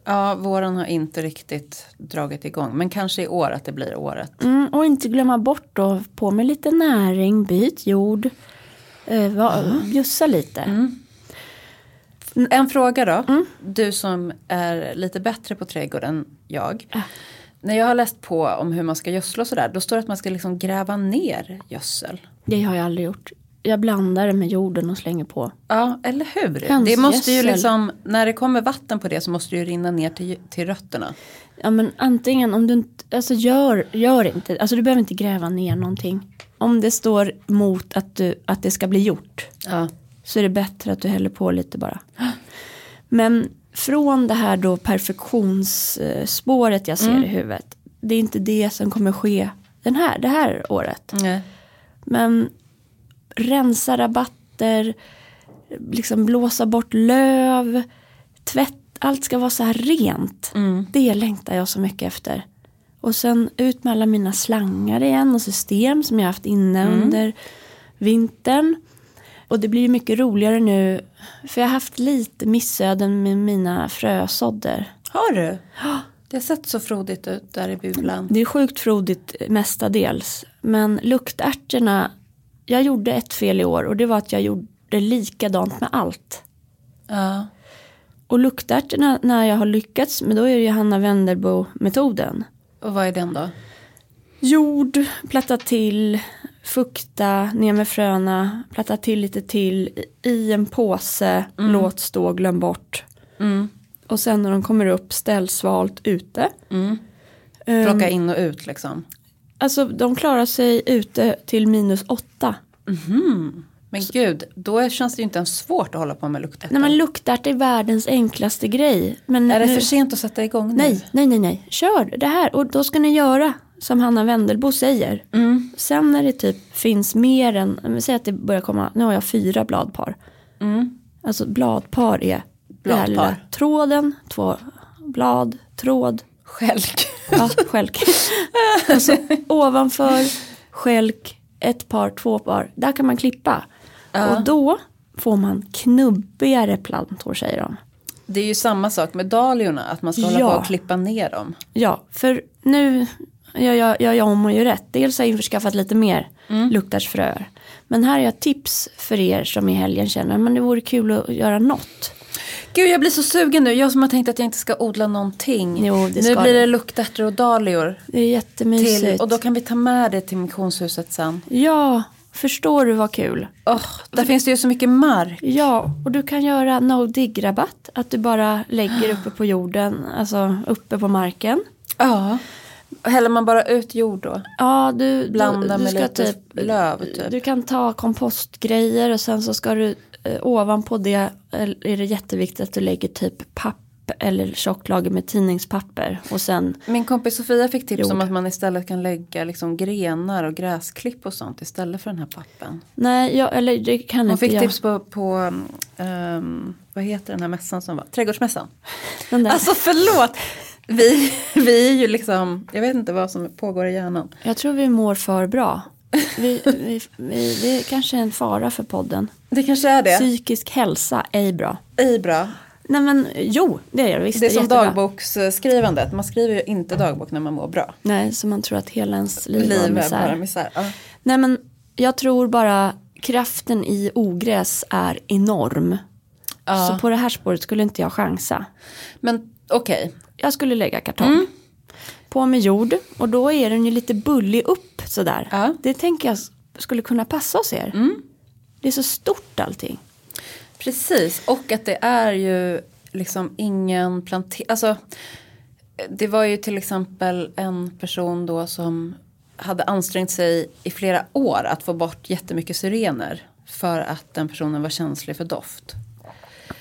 Ja, våren har inte riktigt dragit igång. Men kanske i år att det blir året.
Mm, och inte glömma bort då, på med lite näring, byt jord, eh, va, bjussa lite.
En fråga då. Du som är lite bättre på trädgård än jag. När jag har läst på om hur man ska gödsla och sådär. Då står det att man ska liksom gräva ner gödsel.
Det har jag aldrig gjort. Jag blandar det med jorden och slänger på.
Ja, eller hur? Det
Hönsgödsel.
måste ju liksom, när det kommer vatten på det så måste det ju rinna ner till, till rötterna.
Ja men antingen om du inte, alltså gör, gör inte, alltså du behöver inte gräva ner någonting. Om det står mot att, du, att det ska bli gjort
Ja.
så är det bättre att du häller på lite bara. Men från det här då perfektionsspåret jag ser i huvudet. Det är inte det som kommer ske den här, det här året.
Nej.
Men rensa rabatter, liksom blåsa bort löv, tvätt, allt ska vara så här rent. Det längtar jag så mycket efter. Och sen ut med alla mina slangar igen och system som jag haft inne under vintern. Och det blir ju mycket roligare nu, för jag har haft lite missöden med mina frösådder.
Har du? Det har sett så frodigt ut där i bulan.
Det är sjukt frodigt mestadels. Men luktärtorna, jag gjorde ett fel i år och det var att jag gjorde likadant med allt.
Ja.
Och luktärtorna när jag har lyckats, men då är det ju Hanna Wenderbo-metoden.
Och vad är den då?
Jord, platta till, fukta, ner med fröna, platta till lite till i- i en påse, låt stå, glöm bort.
Mm.
Och sen när de kommer upp, ställ svalt ute. Ehm,
Plocka in och ut liksom.
Alltså de klarar sig ute till minus åtta.
Men gud, då känns det ju inte ens svårt att hålla på med luktärtor.
Nej men luktärta är världens enklaste grej. Men
Är det
nu-
för sent att sätta igång nu?
Nej, nej, nej, nej. Kör det här och då ska ni göra som Hanna Wendelbo säger.
Mm.
Sen när det typ finns mer än, men säg att det börjar komma, nu har jag fyra bladpar. Alltså bladpar är det här lilla
Mm. Bladpar.
tråden, två blad, tråd,
Skälk.
ja, skälk. alltså ovanför, skälk, ett par, två par, där kan man klippa. Och då får man knubbigare plantor säger de.
Det är ju samma sak med dahliorna, att man ska hålla
Ja.
på och klippa ner dem.
Ja, för nu gör jag, gör jag om och gör rätt. Dels har jag införskaffat lite mer
Mm.
luktarsfröer. Men här har jag tips för er som i helgen känner men det vore kul att göra något.
Gud, jag blir så sugen nu. Jag som har tänkt att jag inte ska odla någonting.
Jo, det
nu
ska
blir
du.
det luktärtor och dahlior.
Det är jättemysigt.
Till, och då kan vi ta med det till missionshuset sen.
Ja, förstår du vad kul.
Åh, där finns det ju så mycket mark.
Ja, och du kan göra no dig rabatt. Att du bara lägger uppe på jorden, alltså uppe på marken.
Ja. Häller man bara ut jord då?
Ja, du, du,
Blanda
du
med
ska
lite
typ
löv typ.
Du kan ta kompostgrejer och sen så ska du eh, ovanpå det eh, är det jätteviktigt att du lägger typ papp eller tjocklager med tidningspapper och sen
Min kompis Sofia fick tips
Jord.
om att man istället kan lägga liksom grenar och gräsklipp och sånt istället för den här pappen.
nej, jag, eller det kan
Hon
inte
fick
jag.
tips på, på ehm, vad heter den här mässan som var? Trädgårdsmässan.
Den där.
Alltså förlåt! Vi, vi är ju liksom, jag vet inte vad som pågår i hjärnan.
Jag tror vi mår för bra. Vi, vi, vi, det är kanske är en fara för podden.
Det kanske är det.
Psykisk hälsa, ej bra.
Ej bra.
Nej men jo, det är det visst.
Det är som
jättebra.
dagboksskrivandet, man skriver ju inte dagbok när man mår bra.
Nej, så man tror att hela ens liv, var
Liv är
misär.
bara misär. Ja.
Nej men jag tror bara kraften i ogräs är enorm. Så på det här spåret skulle inte jag chansa.
Men okej,
Jag skulle lägga kartong. På med jord och då är den ju lite bullig upp sådär.
Ja.
Det tänker jag s- skulle kunna passa hos er. Det är så stort allting.
Precis, och att det är ju liksom ingen plantering. Alltså, det var ju till exempel en person då som hade ansträngt sig i flera år att få bort jättemycket syrener. För att den personen var känslig för doft.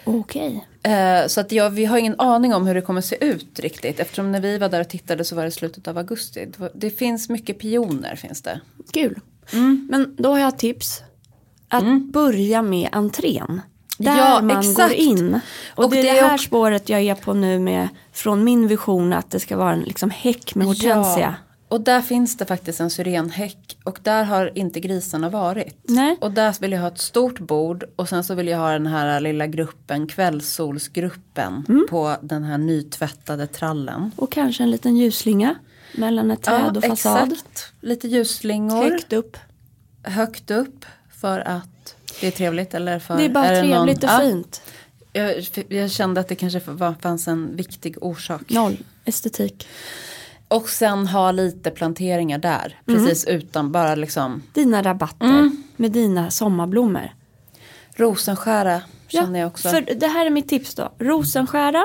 Okej.
Eh, Så att jag, vi har ingen aning om hur det kommer se ut riktigt. Eftersom när vi var där och tittade så var det slutet av augusti. Det var- Det finns mycket pioner finns det.
Kul.
Mm.
Men då har jag tips. Att börja med entrén. Där
Ja,
man
exakt.
går in. Och,
Och
det är
det
det,
är
här
ock-
spåret jag är på nu med från min vision att det ska vara en liksom häck med hortensia.
Ja, och där finns det faktiskt en syrenhäck och där har inte grisarna varit.
Nej.
Och där vill jag ha ett stort bord och sen så vill jag ha den här lilla gruppen, kvällssolsgruppen
Mm.
på den här nytvättade trallen.
Och kanske en liten ljusslinga mellan ett träd och fasad.
exakt. Lite ljusslingor högt.
Högt upp.
upp för att det är trevligt eller för
Det är bara
är
trevligt
någon,
och
Ja,
fint.
jag, jag kände att det kanske var, fanns en viktig orsak.
Noll estetik.
Och sen ha lite planteringar där,
Mm.
precis utan bara liksom
Dina rabatter
Mm.
med dina sommarblommor.
Rosenskära
Ja,
känner jag också.
För det här är mitt tips då. Rosenskära,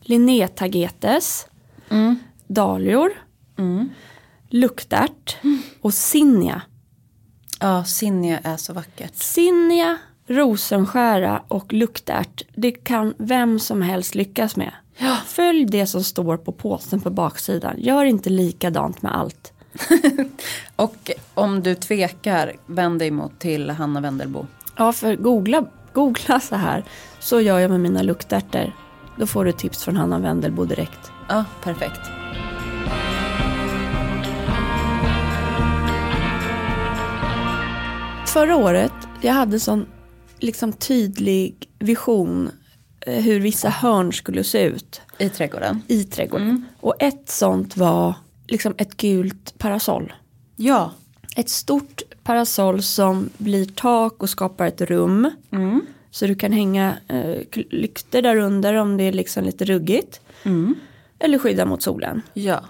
Linnétagetes, Mm. dahlior, Mm. luktärt och zinnia.
Ja, Sinja är så vackert.
Zinnia, rosenskära och luktärt, det kan vem som helst lyckas med. Följ det som står på påsen på baksidan. Gör inte likadant med allt.
Och om du tvekar, vänd dig mot till Hanna Wendelbo.
Ja, för googla, googla så här så gör jag med mina luktärtor. Då får du tips från Hanna Wendelbo direkt.
Ja, perfekt.
Förra året, jag hade sån liksom tydlig vision eh, hur vissa hörn skulle se ut
I trädgården.
i trädgården. Och ett sånt var liksom ett gult parasoll.
Ja.
Ett stort parasoll som blir tak och skapar ett rum. Så du kan hänga eh, kl- lyktor där under om det är liksom lite ruggigt. Eller skydda mot solen.
Ja.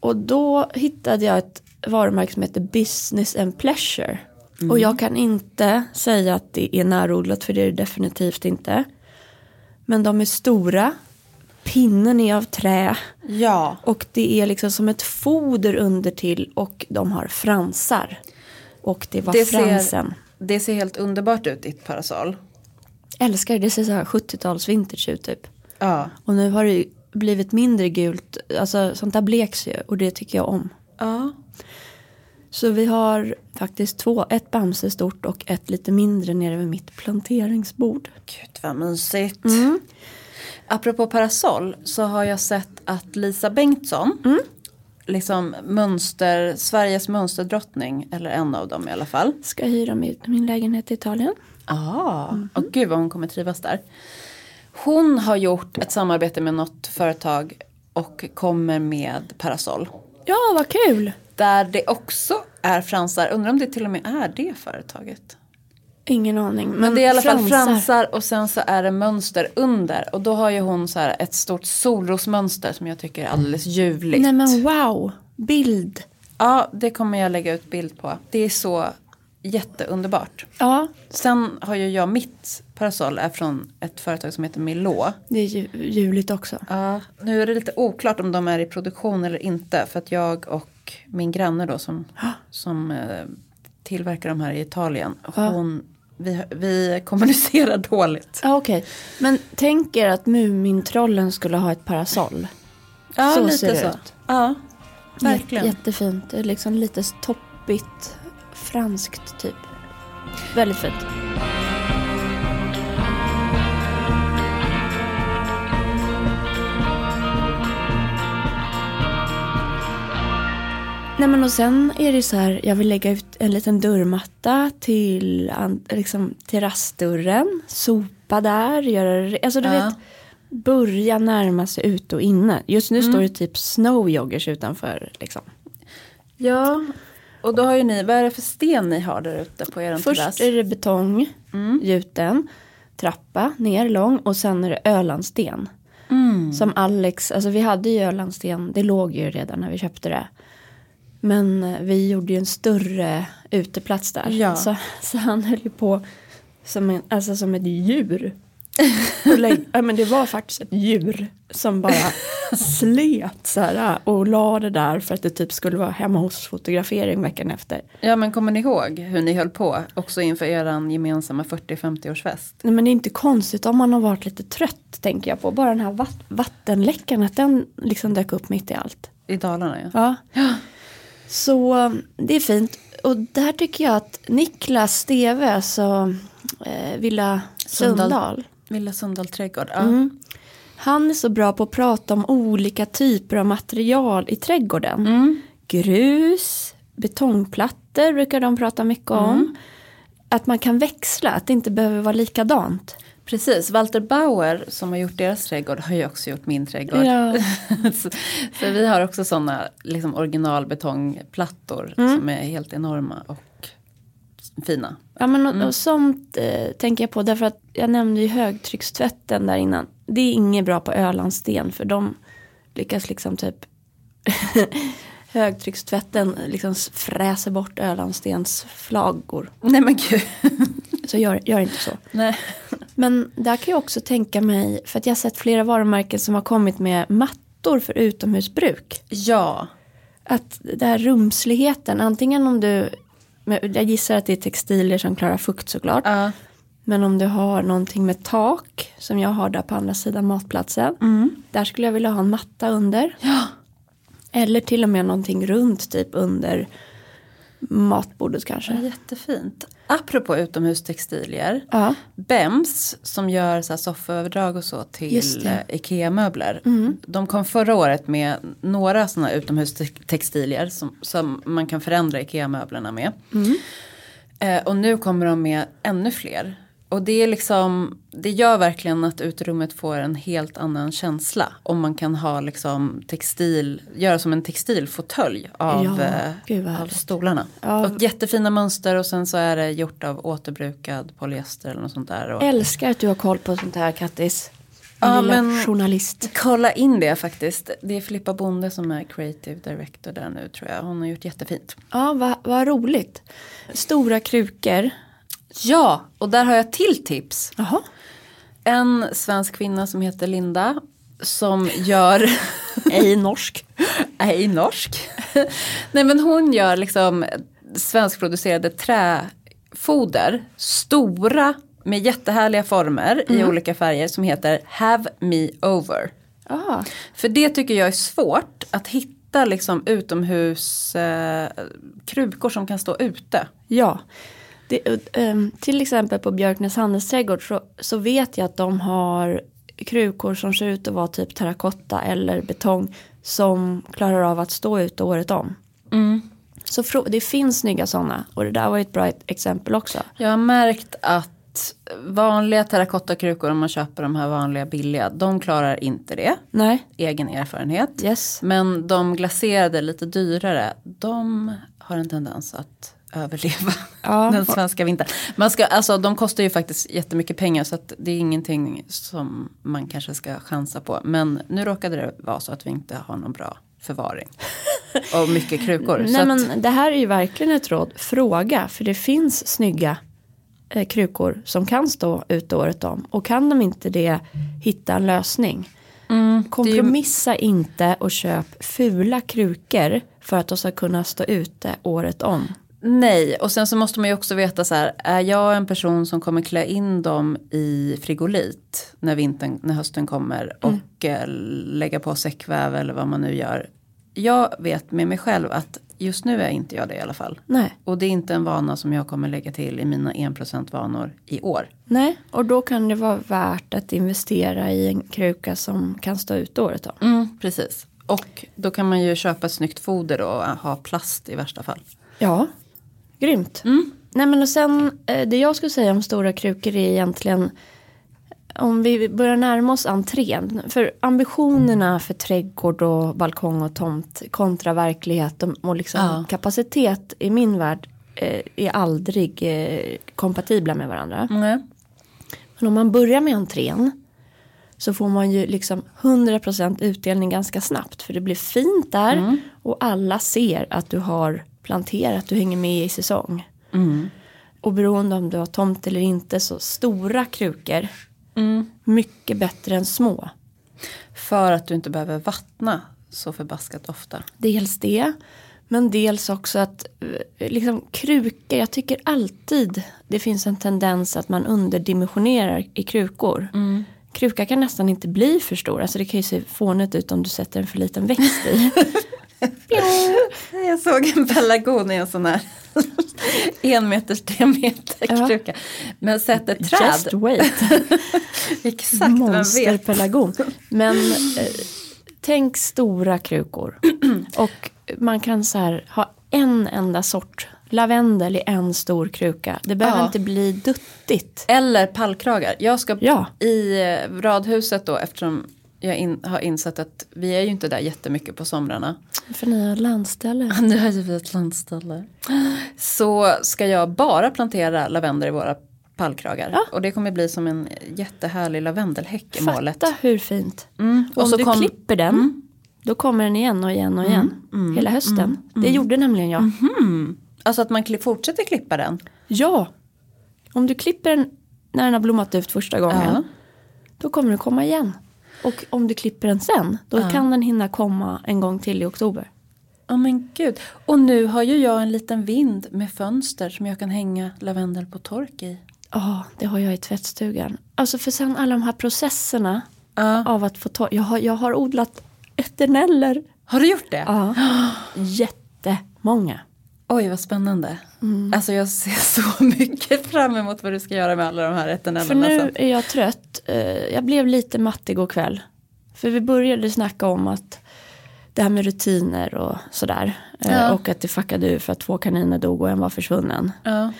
Och då hittade jag ett varumärke som heter Business and Pleasure. Och jag kan inte säga att det är närodlat för det är det definitivt inte. Men de är stora, pinnen är av trä
Ja.
och det är liksom som ett foder under till och de har fransar. Och det var
Det ser,
fransen.
det ser helt underbart ut, ditt parasoll.
Älskar det, det ser så här 70-tals vintage ut typ.
Ja.
Och nu har det ju blivit mindre gult, alltså sånt där bleks ju och det tycker jag om.
Ja.
Så vi har faktiskt två, ett Bamse stort och ett lite mindre nere vid mitt planteringsbord.
Gud vad mysigt. Apropå parasoll så har jag sett att Lisa Bengtsson, liksom mönster, Sveriges mönsterdrottning, eller en av dem i alla fall.
Ska hyra min, min lägenhet i Italien.
Ja, Mm-hmm. och gud vad hon kommer trivas där. Hon har gjort ett samarbete med något företag och kommer med parasoll.
Ja, vad kul!
Där det också är fransar, undrar om det till och med är det företaget.
Ingen aning. Men,
Men det är i alla fall fransar och sen så är det mönster under. Och då har ju hon så här ett stort solrosmönster som jag tycker är alldeles ljuvligt.
Nej men wow, bild.
Ja, det kommer jag lägga ut bild på. Det är så jätteunderbart.
Ja,
Sen har ju jag mitt parasoll är från ett företag som heter Milå.
det är ju ljuvligt också.
Ja, nu är det lite oklart om de är i produktion eller inte. För att jag och min granne då som, som eh, tillverkar de här i Italien. Hon, vi, vi kommunicerar dåligt.
Ja, okej. Men tänk er att Mumintrollen skulle ha ett parasoll.
Ja,
Så
lite
ser det
så.
ut.
Ja, verkligen.
Jätte, jättefint. Det är liksom lite toppigt, franskt typ. Väldigt fint. Nej men och sen är det ju så här, jag vill lägga ut en liten dörrmatta till an- liksom, terrassdörren, sopa där, göra, re- alltså du
Ja.
vet, börja närma sig ut och inne. Just nu står det typ snow joggers utanför liksom.
Ja, och då har ju ni, vad är det för sten ni har där ute på er
Först
terrass?
är det betong,
Mm.
gjuten, trappa ner lång och sen är det Ölandsten.
Mm.
Som Alex, alltså vi hade ju Ölandsten, det låg ju redan när vi köpte det. Men eh, vi gjorde ju en större uteplats där.
Ja.
Så, så han höll ju på som, en, alltså som ett djur. Och lägg- ja, men det var faktiskt ett djur som bara slet så här, och la det där för att det typ skulle vara hemma hos fotografering veckan efter.
Ja, men kommer ni ihåg hur ni höll på också inför er gemensamma 40-50-årsfest?
Nej men det är inte konstigt om man har varit lite trött tänker jag på. Bara den här vat- vattenläckan att den liksom dök upp mitt i allt.
I Dalarna ja.
Ja. Så um, det är fint. Och där tycker jag att Niklas Steve, alltså eh, Villa
Sundahl.
Sundahl.
Villa Sundal trädgård. Ja.
Han är så bra på att prata om olika typer av material i trädgården. Grus, betongplattor brukar de prata mycket
Mm.
om. Att man kan växla, att det inte behöver vara likadant.
Precis, Walter Bauer som har gjort deras trädgård har ju också gjort min trädgård.
Ja.
så, så vi har också sådana liksom, originalbetongplattor som är helt enorma och fina.
Ja men och, och sånt eh, tänker jag på därför att jag nämnde ju högtryckstvätten där innan. Det är inget bra på Ölandsten för de lyckas liksom typ högtryckstvätten liksom s- fräser bort Ölandstens flaggor.
Nej men gud.
Så gör, gör inte så.
Nej.
Men där kan jag också tänka mig, för att jag har sett flera varumärken som har kommit med mattor för utomhusbruk.
Ja,
Att den här rumsligheten, antingen om du, men jag gissar att det är textilier som klarar fukt såklart.
ja.
Men om du har någonting med tak som jag har där på andra sidan matplatsen.
Mm.
Där skulle jag vilja ha en matta under. Eller till och med någonting runt typ under matbordet kanske.
jättefint. Apropå utomhustextilier.
Ja.
Bems som gör så här sofföverdrag och så
Just
till
det. Mm.
eh, IKEA-möbler. De kom förra året med några sådana utomhustextilier som, som man kan förändra IKEA-möblerna med.
Mm.
Eh, och nu kommer de med ännu fler. Och det är liksom, det gör verkligen att utrymmet får en helt annan känsla. Om man kan ha liksom textil, göra som en textilfåtölj av,
Ja,
eh,
gud vad
av
härligt.
stolarna.
Ja.
Och jättefina mönster och sen så är det gjort av återbrukad polyester eller något sånt där. Och...
Älskar att du har koll på sånt här Kattis. Din
Ja,
lilla
men-
journalist.
Kolla in det faktiskt. Det är Filippa Bonde som är creative director där nu tror jag. Hon har gjort jättefint.
Ja, vad vad roligt. Stora krukor.
Ja, och där har jag till tips.
Jaha.
En svensk kvinna som heter Linda som gör
Ej norsk.
Nej, norsk. Nej, men hon gör liksom svenskproducerade träfoder. Stora med jättehärliga former i olika färger som heter Have Me Over.
Ja.
För det tycker jag är svårt att hitta liksom utomhus eh, krukor som kan stå ute.
Ja, det, ehm, till exempel på Björknäs handelsträdgård så, så vet jag att de har krukor som ser ut att vara typ terrakotta eller betong som klarar av att stå ute året om. Så fro- det finns snygga sådana och det där var ju ett bra e- exempel också.
Jag har märkt att vanliga terrakottakrukor om man köper de här vanliga billiga, de klarar inte det.
Nej,
Egen erfarenhet.
yes.
Men de glaserade lite dyrare, de har en tendens att överleva
Ja.
den svenska vintern. Man ska, alltså, de kostar ju faktiskt jättemycket pengar så att det är ingenting som man kanske ska chansa på. Men nu råkade det vara så att vi inte har någon bra förvaring. och mycket krukor.
Nej men det här är ju verkligen ett råd, fråga för det finns snygga eh, krukor som kan stå ut året om och kan de inte det hitta en lösning. Kompromissa inte och köp fula krukor för att de ska kunna stå ute året om.
Nej, och sen så måste man ju också veta så här, är jag en person som kommer klä in dem i frigolit när, vintern, när hösten kommer och eh, lägga på säckväv eller vad man nu gör. Jag vet med mig själv att just nu är inte jag det i alla fall.
Nej.
Och det är inte en vana som jag kommer lägga till i mina 1% vanor i år.
Nej, och då kan det vara värt att investera i en kruka som kan stå ut året om.
precis. Och då kan man ju köpa ett snyggt foder och eh, ha plast i värsta fall.
Ja, grymt. Nej men och sen eh, det jag skulle säga om stora krukor är egentligen om vi börjar närma oss entrén. För ambitionerna för trädgård och balkong och tomt kontra verklighet och, och liksom
Ja.
kapacitet i min värld eh, är aldrig eh, kompatibla med varandra.
Nej.
Men om man börjar med entrén så får man ju liksom 100% utdelning ganska snabbt. För det blir fint där och alla ser att du har planterat, du hänger med i säsong. Och beroende om du har tomt eller inte så stora krukor mycket bättre än små.
För att du inte behöver vattna så förbaskat ofta.
Dels det. Men dels också att eh, liksom, krukor, jag tycker alltid det finns en tendens att man underdimensionerar i krukor. Mm. Kruka kan nästan inte bli för stor, alltså det kan ju se fånigt ut om du sätter en för liten växt i.
Jag såg en pelargon i en sån här en meters diameter
Ja.
kruka. Men sätt ett
Just
träd.
wait,
Exakt, vem vet.
monsterpelargon. Men eh, tänk stora krukor. Och man kan så här, ha en enda sort lavendel i en stor kruka. Det behöver
Ja.
inte bli duttigt.
Eller pallkragar. Jag ska
Ja.
i eh, radhuset då eftersom jag in, har insett att vi är ju inte där jättemycket på somrarna.
För nya landställen.
Nu har ju vi ett landställe. Så ska jag bara plantera lavendel i våra pallkragar. Och det kommer bli som en jättehärlig lavendelhäck i målet. Mm.
Fatta hur fint.
och
Om
så
du
kom- Mm.
klipper den, då kommer den igen och igen och igen. Hela hösten. Det gjorde nämligen jag.
Mm. Alltså att man kli- fortsätter klippa den.
Ja. Om du klipper den när den har blommat ut första gången,
Ja.
då kommer den komma igen. Och om du klipper den sen, då kan den hinna komma en gång till i oktober.
Ja men gud. Och nu har ju jag en liten vind med fönster som jag kan hänga lavendel på tork i.
Ja, det har jag i tvättstugan. Alltså för sen alla de här processerna
Ja.
av att få ta... Jag har, jag har odlat eterneller.
Har du gjort det?
Ja. Jättemånga.
Oj vad spännande.
Mm.
Alltså jag ser så mycket fram emot vad du ska göra med alla de här alltså.
För
eternellerna
nu
sen.
är jag trött. Eh, Jag blev lite matt igår kväll. För vi började snacka om att det här med rutiner och sådär. Eh,
Ja.
Och att det fuckade ur för att två kaniner dog och en var försvunnen.
Ja.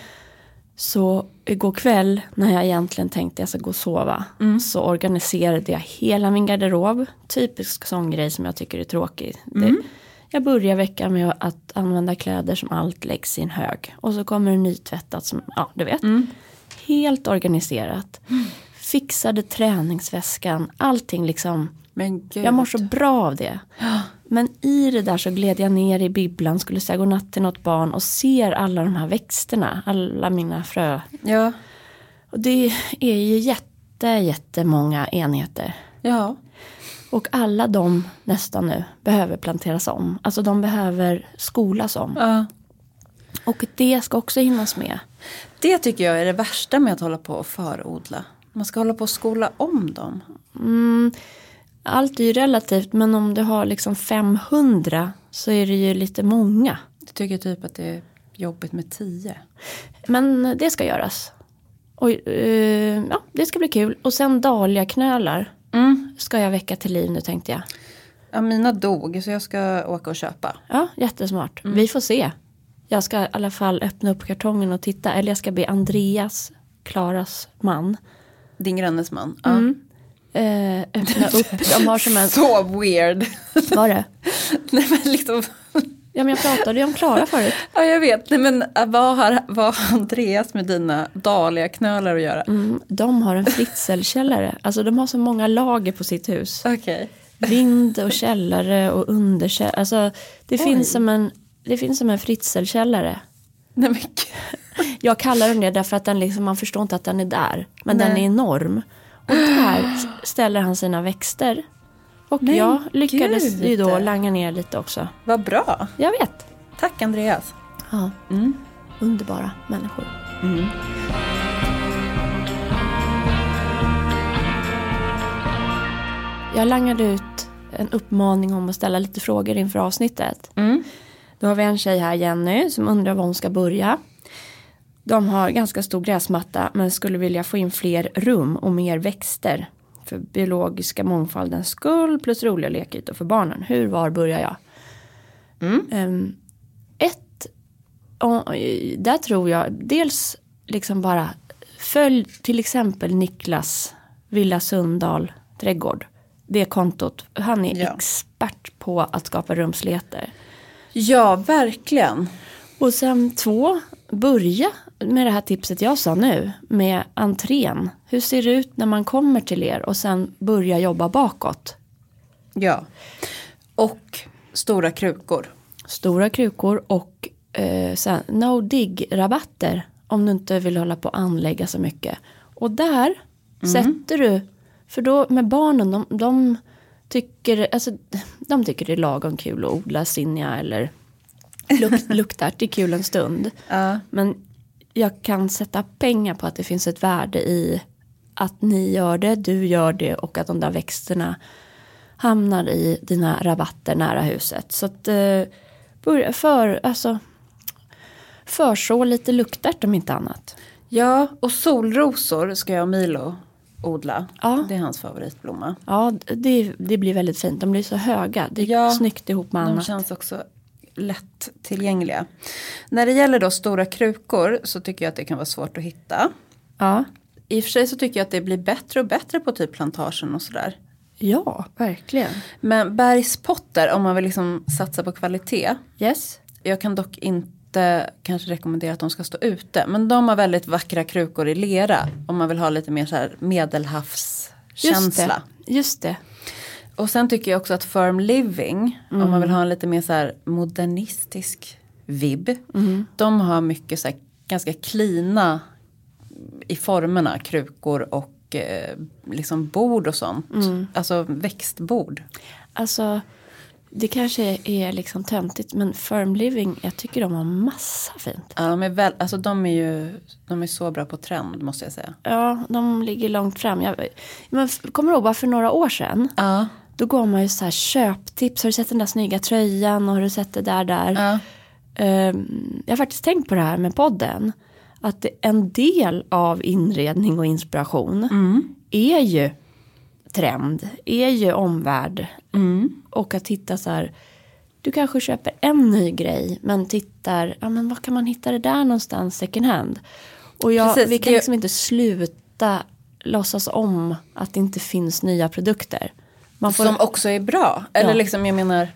Så igår kväll när jag egentligen tänkte jag ska gå och sova. Så organiserade jag hela min garderob. Typisk sån grej som jag tycker är tråkig. Det, jag börjar veckan med att använda kläder som allt läggs i en hög. Och så kommer det nytvättat som, ja du vet. Helt organiserat. Fixade träningsväskan, allting liksom.
Men gud.
Jag mår så bra av det. Men i det där så gled jag ner i bibblan, skulle säga godnatt till något barn och ser alla de här växterna, alla mina frö.
Ja.
Och det är ju jätte, jättemånga enheter.
Ja.
Och alla de nästan nu behöver planteras om. Alltså de behöver skolas om.
ja.
Och det ska också hinnas med.
Det tycker jag är det värsta med att hålla på och förodla. Man ska hålla på och skola om dem.
Mm, Allt är ju relativt men om du har liksom 500 så är det ju lite många.
Jag tycker typ att det är jobbigt med tio.
Men det ska göras. Och eh, ja, det ska bli kul. Och sen dahliaknölar ska jag väcka till liv nu tänkte jag.
Ja, mina dog så jag ska åka och köpa.
Ja, jättesmart. Vi får se. Jag ska i alla fall öppna upp kartongen och titta. Eller jag ska be Andreas, Klaras man,
Din grannes man. Ja.
Mm. eh, öppna upp. De har som en...
Så weird.
Var det?
Nej, men liksom,
Ja, men jag pratade ju om Klara förut.
ja, jag vet. Nej, men äh, vad har, vad har Andreas med dina dahlia knölar att göra?
Mm, de har en fritzelkällare. Alltså de har så många lager på sitt hus.
Okej.
vind och källare och underkällare. Alltså, det,
Oj.
finns som en, det finns som en fritzelkällare.
Nej men gud.
Jag kallar den det därför att den liksom, man förstår inte att den är där. Men den
Nej.
är enorm. Och där s- ställer han sina växter. Och
Men
jag lyckades
gud.
ju då langa ner lite också.
Vad bra.
Jag vet.
Tack Andreas.
Ja.
Mm.
Underbara människor. Mm. Jag langade ut en uppmaning om att ställa lite frågor inför avsnittet.
Mm.
Då har vi en tjej här, Jenny, som undrar var hon ska börja. De har ganska stor gräsmatta men skulle vilja få in fler rum och mer växter. För biologiska mångfaldens skull plus roliga lekytor för barnen. Hur, var börjar jag?
Mm.
Ehm, ett, och, eh, där tror jag dels liksom bara följ till exempel Niklas Villa Sundahl trädgård. Det kontot, han är
Ja.
expert på att skapa rumsligheter.
Ja, verkligen.
Och sen två, börja med det här tipset jag sa nu med entrén. Hur ser det ut när man kommer till er och sen börja jobba bakåt.
Ja. Och stora krukor.
Stora krukor och eh, sen no dig rabatter om du inte vill hålla på och anlägga så mycket. Och där sätter du, för då med barnen, de, de, tycker, alltså, de tycker det är lagom kul att odla zinnia eller luk, luktärt, är kul en stund.
Ja.
Men jag kan sätta pengar på att det finns ett värde i att ni gör det, du gör det och att de där växterna hamnar i dina rabatter nära huset. Så att eh, börja för, alltså, förså lite luktert om inte annat.
ja, och solrosor ska jag och Milo odla.
Ja.
Det är hans favoritblomma.
Ja, det, det blir väldigt fint. De blir så höga. Det är
Ja.
snyggt ihop med
De
annat.
känns också lättillgängliga. När det gäller då stora krukor så tycker jag att det kan vara svårt att hitta.
Ja.
I och för sig så tycker jag att det blir bättre och bättre på typ plantagen och sådär.
ja, verkligen.
Men bergspotter om man vill liksom satsa på kvalitet.
Yes.
Jag kan dock inte kanske rekommendera att de ska stå ute. Men de har väldigt vackra krukor i lera. Om man vill ha lite mer så här
Just det.
medelhavskänsla.
Just det.
Och sen tycker jag också att firm living. Om man vill ha en lite mer så här modernistisk vibb. De har mycket så här ganska klina i formerna. Krukor och eh, liksom bord och sånt. Alltså växtbord.
Alltså, det kanske är liksom töntigt men firm living, jag tycker de har massa fint.
Ja, de är, väl, alltså de är ju de är så bra på trend måste jag säga.
Ja, de ligger långt fram. Jag, men f- kommer du ihåg bara för några år sedan?
Ja.
Då går man ju så här köptips, har du sett den där snygga tröjan och har du sett det där där?
Ja.
Ehm, jag har faktiskt tänkt på det här med podden. Att det- en del av inredning och inspiration
Mm.
är ju trend, är ju omvärld.
Mm.
Och att hitta så här, du kanske köper en ny grej men tittar, ja men var kan man hitta det där någonstans second hand? Och jag,
Precis,
vi kan
det-
liksom inte sluta låtsas om att det inte finns nya produkter. Man får,
Som också är bra. Eller
Ja.
liksom jag menar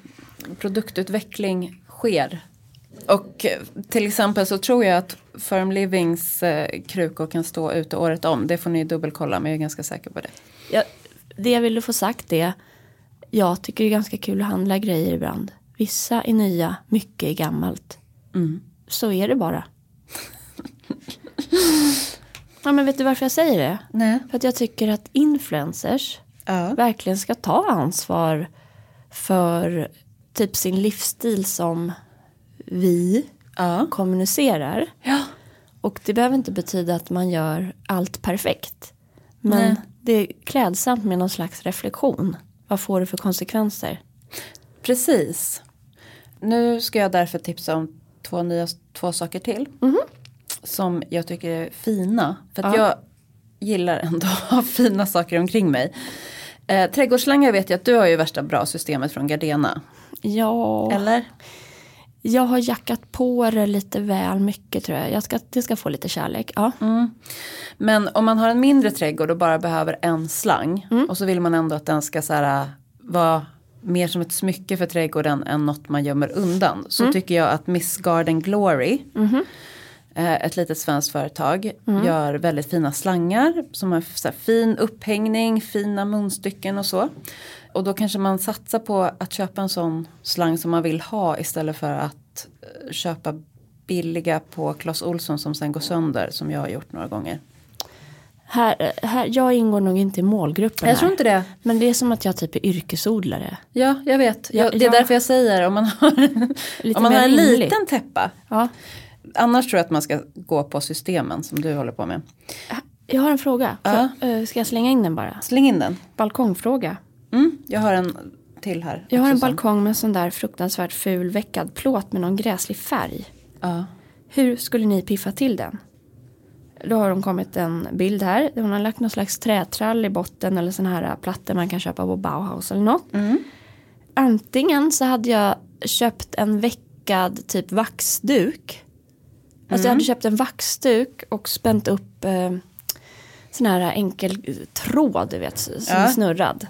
produktutveckling sker. Och eh, till exempel så tror jag att Firm Livings eh, krukor kan stå ute året om. Det får ni dubbelkolla men jag är ganska säker på det.
jag, det jag ville få sagt är, jag tycker det är ganska kul att handla grejer ibland. Vissa är nya, mycket är gammalt.
Mm.
Så är det bara. ja men vet du varför jag säger det?
Nej.
För att jag tycker att influencers
Ja.
verkligen ska ta ansvar för typ sin livsstil som vi
Ja.
kommunicerar.
Ja.
Och det behöver inte betyda att man gör allt perfekt. Men
Nej.
det är klädsamt med någon slags reflektion. Vad får det för konsekvenser?
Precis. Nu ska jag därför tipsa om två, nya, två saker till.
Mhm.
Som jag tycker är fina. För att jag gillar ändå att ha fina saker omkring mig. Eh, trädgårdsslangar vet jag att du har ju värsta bra systemet från Gardena.
Ja,
Eller?
jag har jackat på det lite väl mycket tror jag. jag ska, det ska få lite kärlek. Ja.
Mm. Men om man har en mindre trädgård och bara behöver en slang. Och så vill man ändå att den ska så här, äh, vara mer som ett smycke för trädgården än något man gömmer undan. Så tycker jag att Miss Garden Glory. Eh, Ett litet svenskt företag gör väldigt fina slangar som har så här fin upphängning, fina munstycken och så. Och då kanske man satsar på att köpa en sån slang som man vill ha istället för att eh, köpa billiga på Clas Ohlson som sen går sönder som jag har gjort några gånger.
Här, här, jag ingår nog inte i målgruppen här.
inte det.
Men det är som att jag typ är yrkesodlare.
Ja, jag vet.
Ja,
Jag, det är
ja.
därför jag säger om man har en,
Lite
om man
mer
har en
rimligt.
liten täppa.
Ja.
Annars tror jag att man ska gå på systemen som du håller på med.
Jag har en fråga.
Ja.
Får- eh, Ska jag slänga in den bara?
Släng in den.
Balkongfråga.
Mm, jag har en till här.
Jag har en
också som-
balkong med sån där fruktansvärt ful veckad plåt med någon gräslig färg.
Ja.
Hur skulle ni piffa till den? Då har de kommit en bild här. Hon har lagt någon slags trätrall i botten eller sån här plattor man kan köpa på Bauhaus eller något. Antingen så hade jag köpt en veckad typ vaxduk. Alltså jag hade köpt en vaxduk och spänt upp eh, sån här enkel tråd du vet som
Ja.
är snurrad.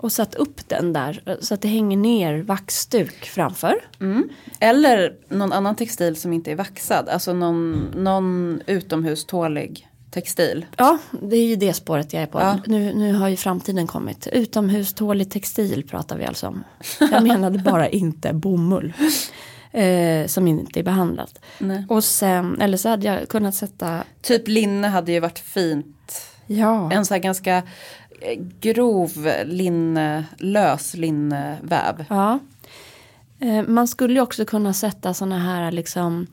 Och satt upp den där eh, så att det hänger ner vaxduk framför.
Mm. Eller någon annan textil som inte är vaxad. Alltså någon, någon utomhustålig textil.
Ja, det är ju det spåret jag är på.
Ja.
Nu, nu har ju framtiden kommit. Utomhustålig textil pratar vi alltså om. Jag menade bara inte bomull. Eh, som inte är behandlat.
Nej.
Och sen, eller så hade jag kunnat sätta,
Typ linne hade ju varit fint.
ja,
En så här ganska eh, grov linne, lös linneväv.
ja. Eh, man skulle ju också kunna sätta sådana här liksom,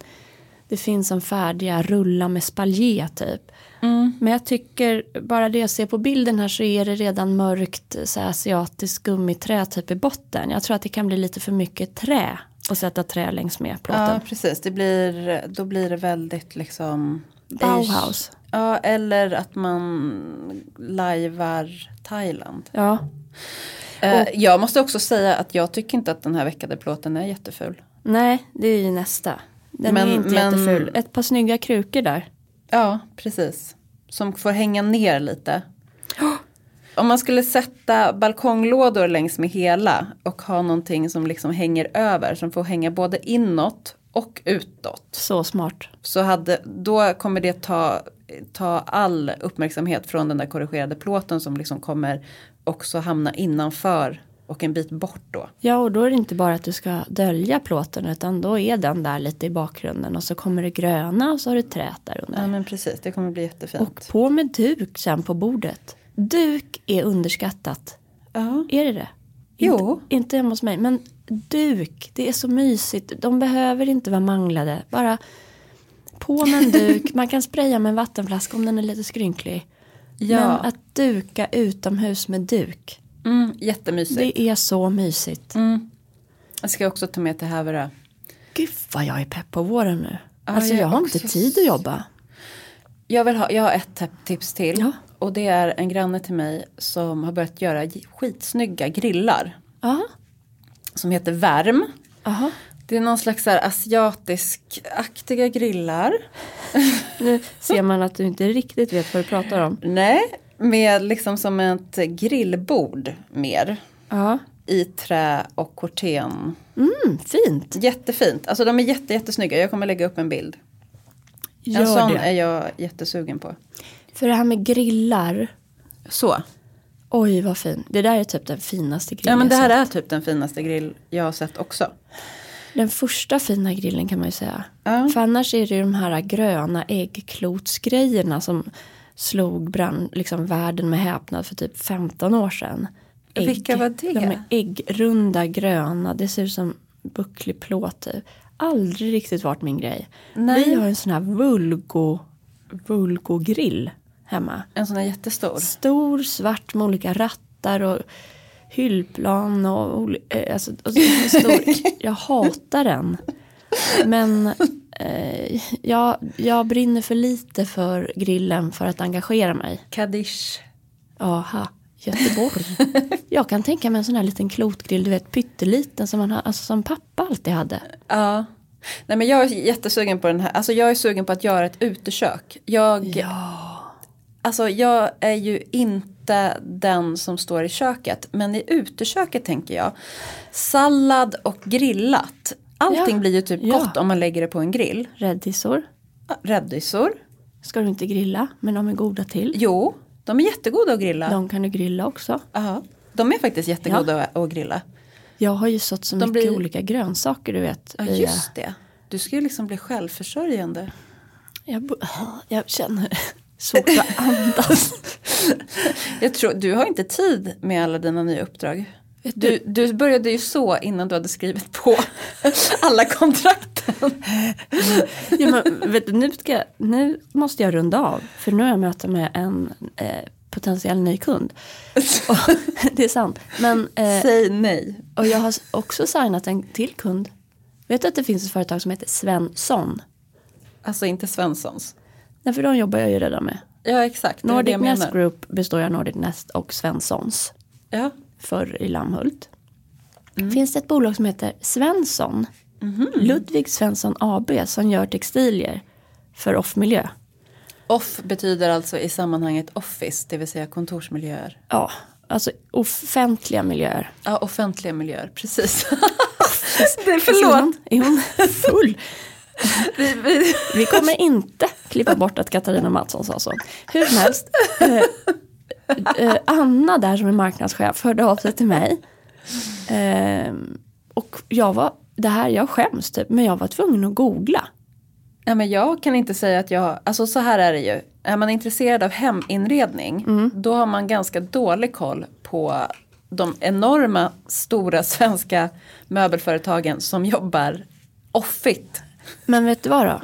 det finns som färdiga rulla med spaljer typ.
Mm.
Men jag tycker, bara det jag ser på bilden här så är det redan mörkt eh, så här, asiatiskt gummiträ typ i botten. Jag tror att det kan bli lite för mycket trä att sätta trä längs med
Ja,
plåten.
precis. Det blir, då blir det väldigt liksom...
Bauhaus.
Ja, eller att man lajvar Thailand.
Ja.
Eh, jag måste också säga att jag tycker inte att den här veckade plåten är jätteful.
Nej, det är ju nästa. Den
Men-
är inte
men-
jätteful. Ett par snygga krukor där.
Ja, precis. Som får hänga ner lite. Om man skulle sätta balkonglådor längs med hela och ha någonting som liksom hänger över som får hänga både inåt och utåt.
Så smart.
Så hade, då kommer det ta, ta all uppmärksamhet från den där korrigerade plåten som liksom kommer också hamna innanför och en bit bort då.
Ja, och då är det inte bara att du ska dölja plåten utan då är den där lite i bakgrunden och så kommer det gröna och så har du träet där under.
Ja men precis, det kommer bli jättefint.
Och på med duk sen på bordet. Duk är underskattat.
ja.
Är det det?
Jo.
Inte, inte hemma hos mig, men duk, det är så mysigt. De behöver inte vara manglade. Bara på med en duk. Man kan spraya med en vattenflaska om den är lite skrynklig.
Ja.
Men att duka utomhus med duk,
Mm, jättemysigt.
det är så mysigt.
mm. Jag ska också ta med till Häverö.
Gud vad jag är pepp på våren nu.
Ja,
alltså
jag
jag,
är
har
också
inte tid att jobba.
Jag, vill ha, jag har ett tep- tips till.
Ja.
Och det är en granne till mig som har börjat göra j- skitsnygga grillar.
Ja.
Som heter Värm.
Aha.
Det är någon slags så här asiatisk-aktiga grillar.
Nu ser man att du inte riktigt vet vad du pratar om.
Nej, med liksom som ett grillbord mer.
Ja.
I trä och korten.
Mm, fint.
Jättefint. Alltså de är jätte, jättesnygga. Jag kommer lägga upp en bild. en
Gör
sån
det.
är jag jättesugen på.
För det här med grillar.
Så.
Oj vad fin. Det där är typ den finaste grillen.
Ja men det
jag
här
sett.
är typ den finaste grill jag har sett också.
Den första fina grillen kan man ju säga.
Ja.
För annars är det ju de här gröna äggklotsgrejerna som slog brand, liksom världen med häpnad för typ 15 år sedan.
Vilka var det?
De är äggrunda gröna, det ser ut som bucklig plåt typ. Aldrig riktigt varit min grej.
Nej.
Vi har en sån här vulgo, vulgogrill hemma.
En sån här jättestor.
Stor svart med olika rattar och hyllplan och, oli- eh, alltså, och så en stor, jag hatar den. Men eh, jag, jag brinner för lite för grillen för att engagera mig.
Kaddish.
Aha, Göteborg. Jag kan tänka mig en sån här liten klotgrill, du vet pytteliten som, man har, alltså, som pappa alltid hade.
Ja. Nej men jag är jättesugen på den här. Alltså jag är sugen på att göra ett utekök. Jag, alltså, jag är ju inte den som står i köket. Men i uteköket tänker jag. Sallad och grillat. Allting
Ja.
blir ju typ
Ja.
gott om man lägger det på en grill.
Rädisor.
Rädisor.
Ska du inte grilla, men de är goda till.
Jo, de är jättegoda att grilla.
De kan du grilla också.
Ja, de är faktiskt jättegoda att grilla.
Jag har ju sått så
De
mycket
blir-
olika grönsaker du vet.
Ja,
i-
just det. Du ska ju liksom bli självförsörjande.
Jag, bo- jag känner svårt att andas.
Jag tror, du har inte tid med alla dina nya uppdrag.
Vet
Du, du började ju så innan du hade skrivit på alla kontrakten.
Ja, men, vet du, nu, ska, nu måste jag runda av för nu har jag möte med en eh, potentiell ny kund. Och, det är sant. Men, eh,
Säg nej.
och jag har också signat en till kund. Vet du att det finns ett företag som heter Svensson?
Alltså inte Svenssons.
Nej, för de jobbar jag ju redan med.
Ja exakt, det är det
Nordic
jag
Nest
menar.
Group består av Nordic Nest och Svenssons.
Ja.
Förr i Lammhult.
Mm.
Finns det ett bolag som heter Svensson.
Mhm.
Ludvig Svensson AB som gör textilier för off-miljö.
Off betyder alltså i sammanhanget office, det vill säga kontorsmiljöer.
Ja, alltså offentliga miljöer.
Ja, offentliga miljöer, precis.
Det,
förlåt.
Är hon, är hon full?
vi, vi,
Vi kommer inte klippa bort att Katarina Mattsson sa så. Hur som helst. Eh, eh, Anna där som är marknadschef hörde av sig till mig. Eh, och jag var, det här, jag skäms typ, men jag var tvungen att googla.
Ja, men jag kan inte säga att jag, alltså så här är det ju. Är man intresserad av heminredning
Mm.
då har man ganska dålig koll på de enorma stora svenska möbelföretagen som jobbar offigt.
Men vet du vad då?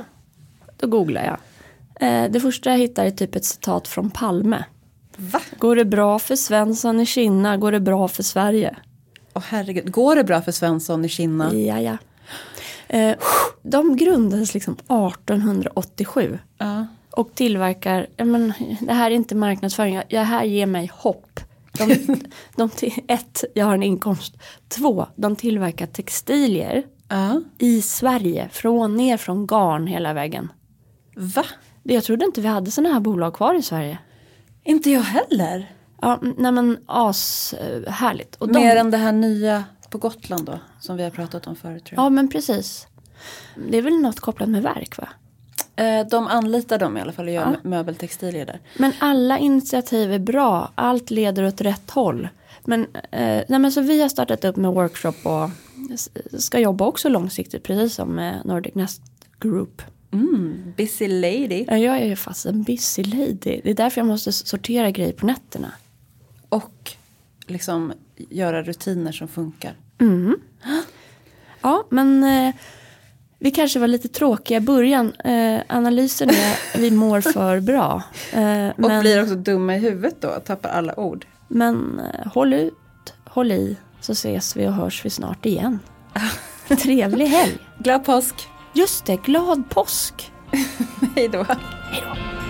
Då googlar jag. Eh, det första jag hittar är typ ett citat från Palme.
Va?
Går det bra för Svensson i Kina, går det bra för Sverige.
Åh herregud, går det bra för Svensson i Kina?
Ja, ja. Eh, de grundades liksom 1887
Ja.
och tillverkar, ja, men, det här är inte marknadsföring, jag- det här ger mig hopp. De, de, till- ett, jag har en inkomst. Två, de tillverkar textilier
ja.
i Sverige, från ner från garn hela vägen.
Va?
Det- Jag trodde inte vi hade sådana här bolag kvar i Sverige.
Inte jag heller.
Ja, m- nej men as, eh, härligt. Och de-
Mer än det här nya på Gotland då, som vi har pratat om förut tror jag.
Ja men precis. Det är väl något kopplat med verk va?
Eh, De anlitar dem i alla fall och gör möbeltextilier där.
Men alla initiativ är bra, allt leder åt rätt håll. Men, eh, nej men så vi har startat upp med workshop och s- ska jobba också långsiktigt precis som med Nordic Nest Group.
Mm, busy lady.
Ja, Jag är ju fast en busy lady, det är därför jag måste s- sortera grejer på nätterna.
Och liksom göra rutiner som funkar.
Mm. Ja men eh, vi kanske var lite tråkiga i början, eh, analysen är vi mår för bra. Eh,
Och
men,
blir också dumma i huvudet då, tappar alla ord.
men eh, håll ut, håll i, så ses vi och hörs vi snart igen. Trevlig helg!
Glad påsk!
Just det, glad påsk!
Hej då!
Hej då!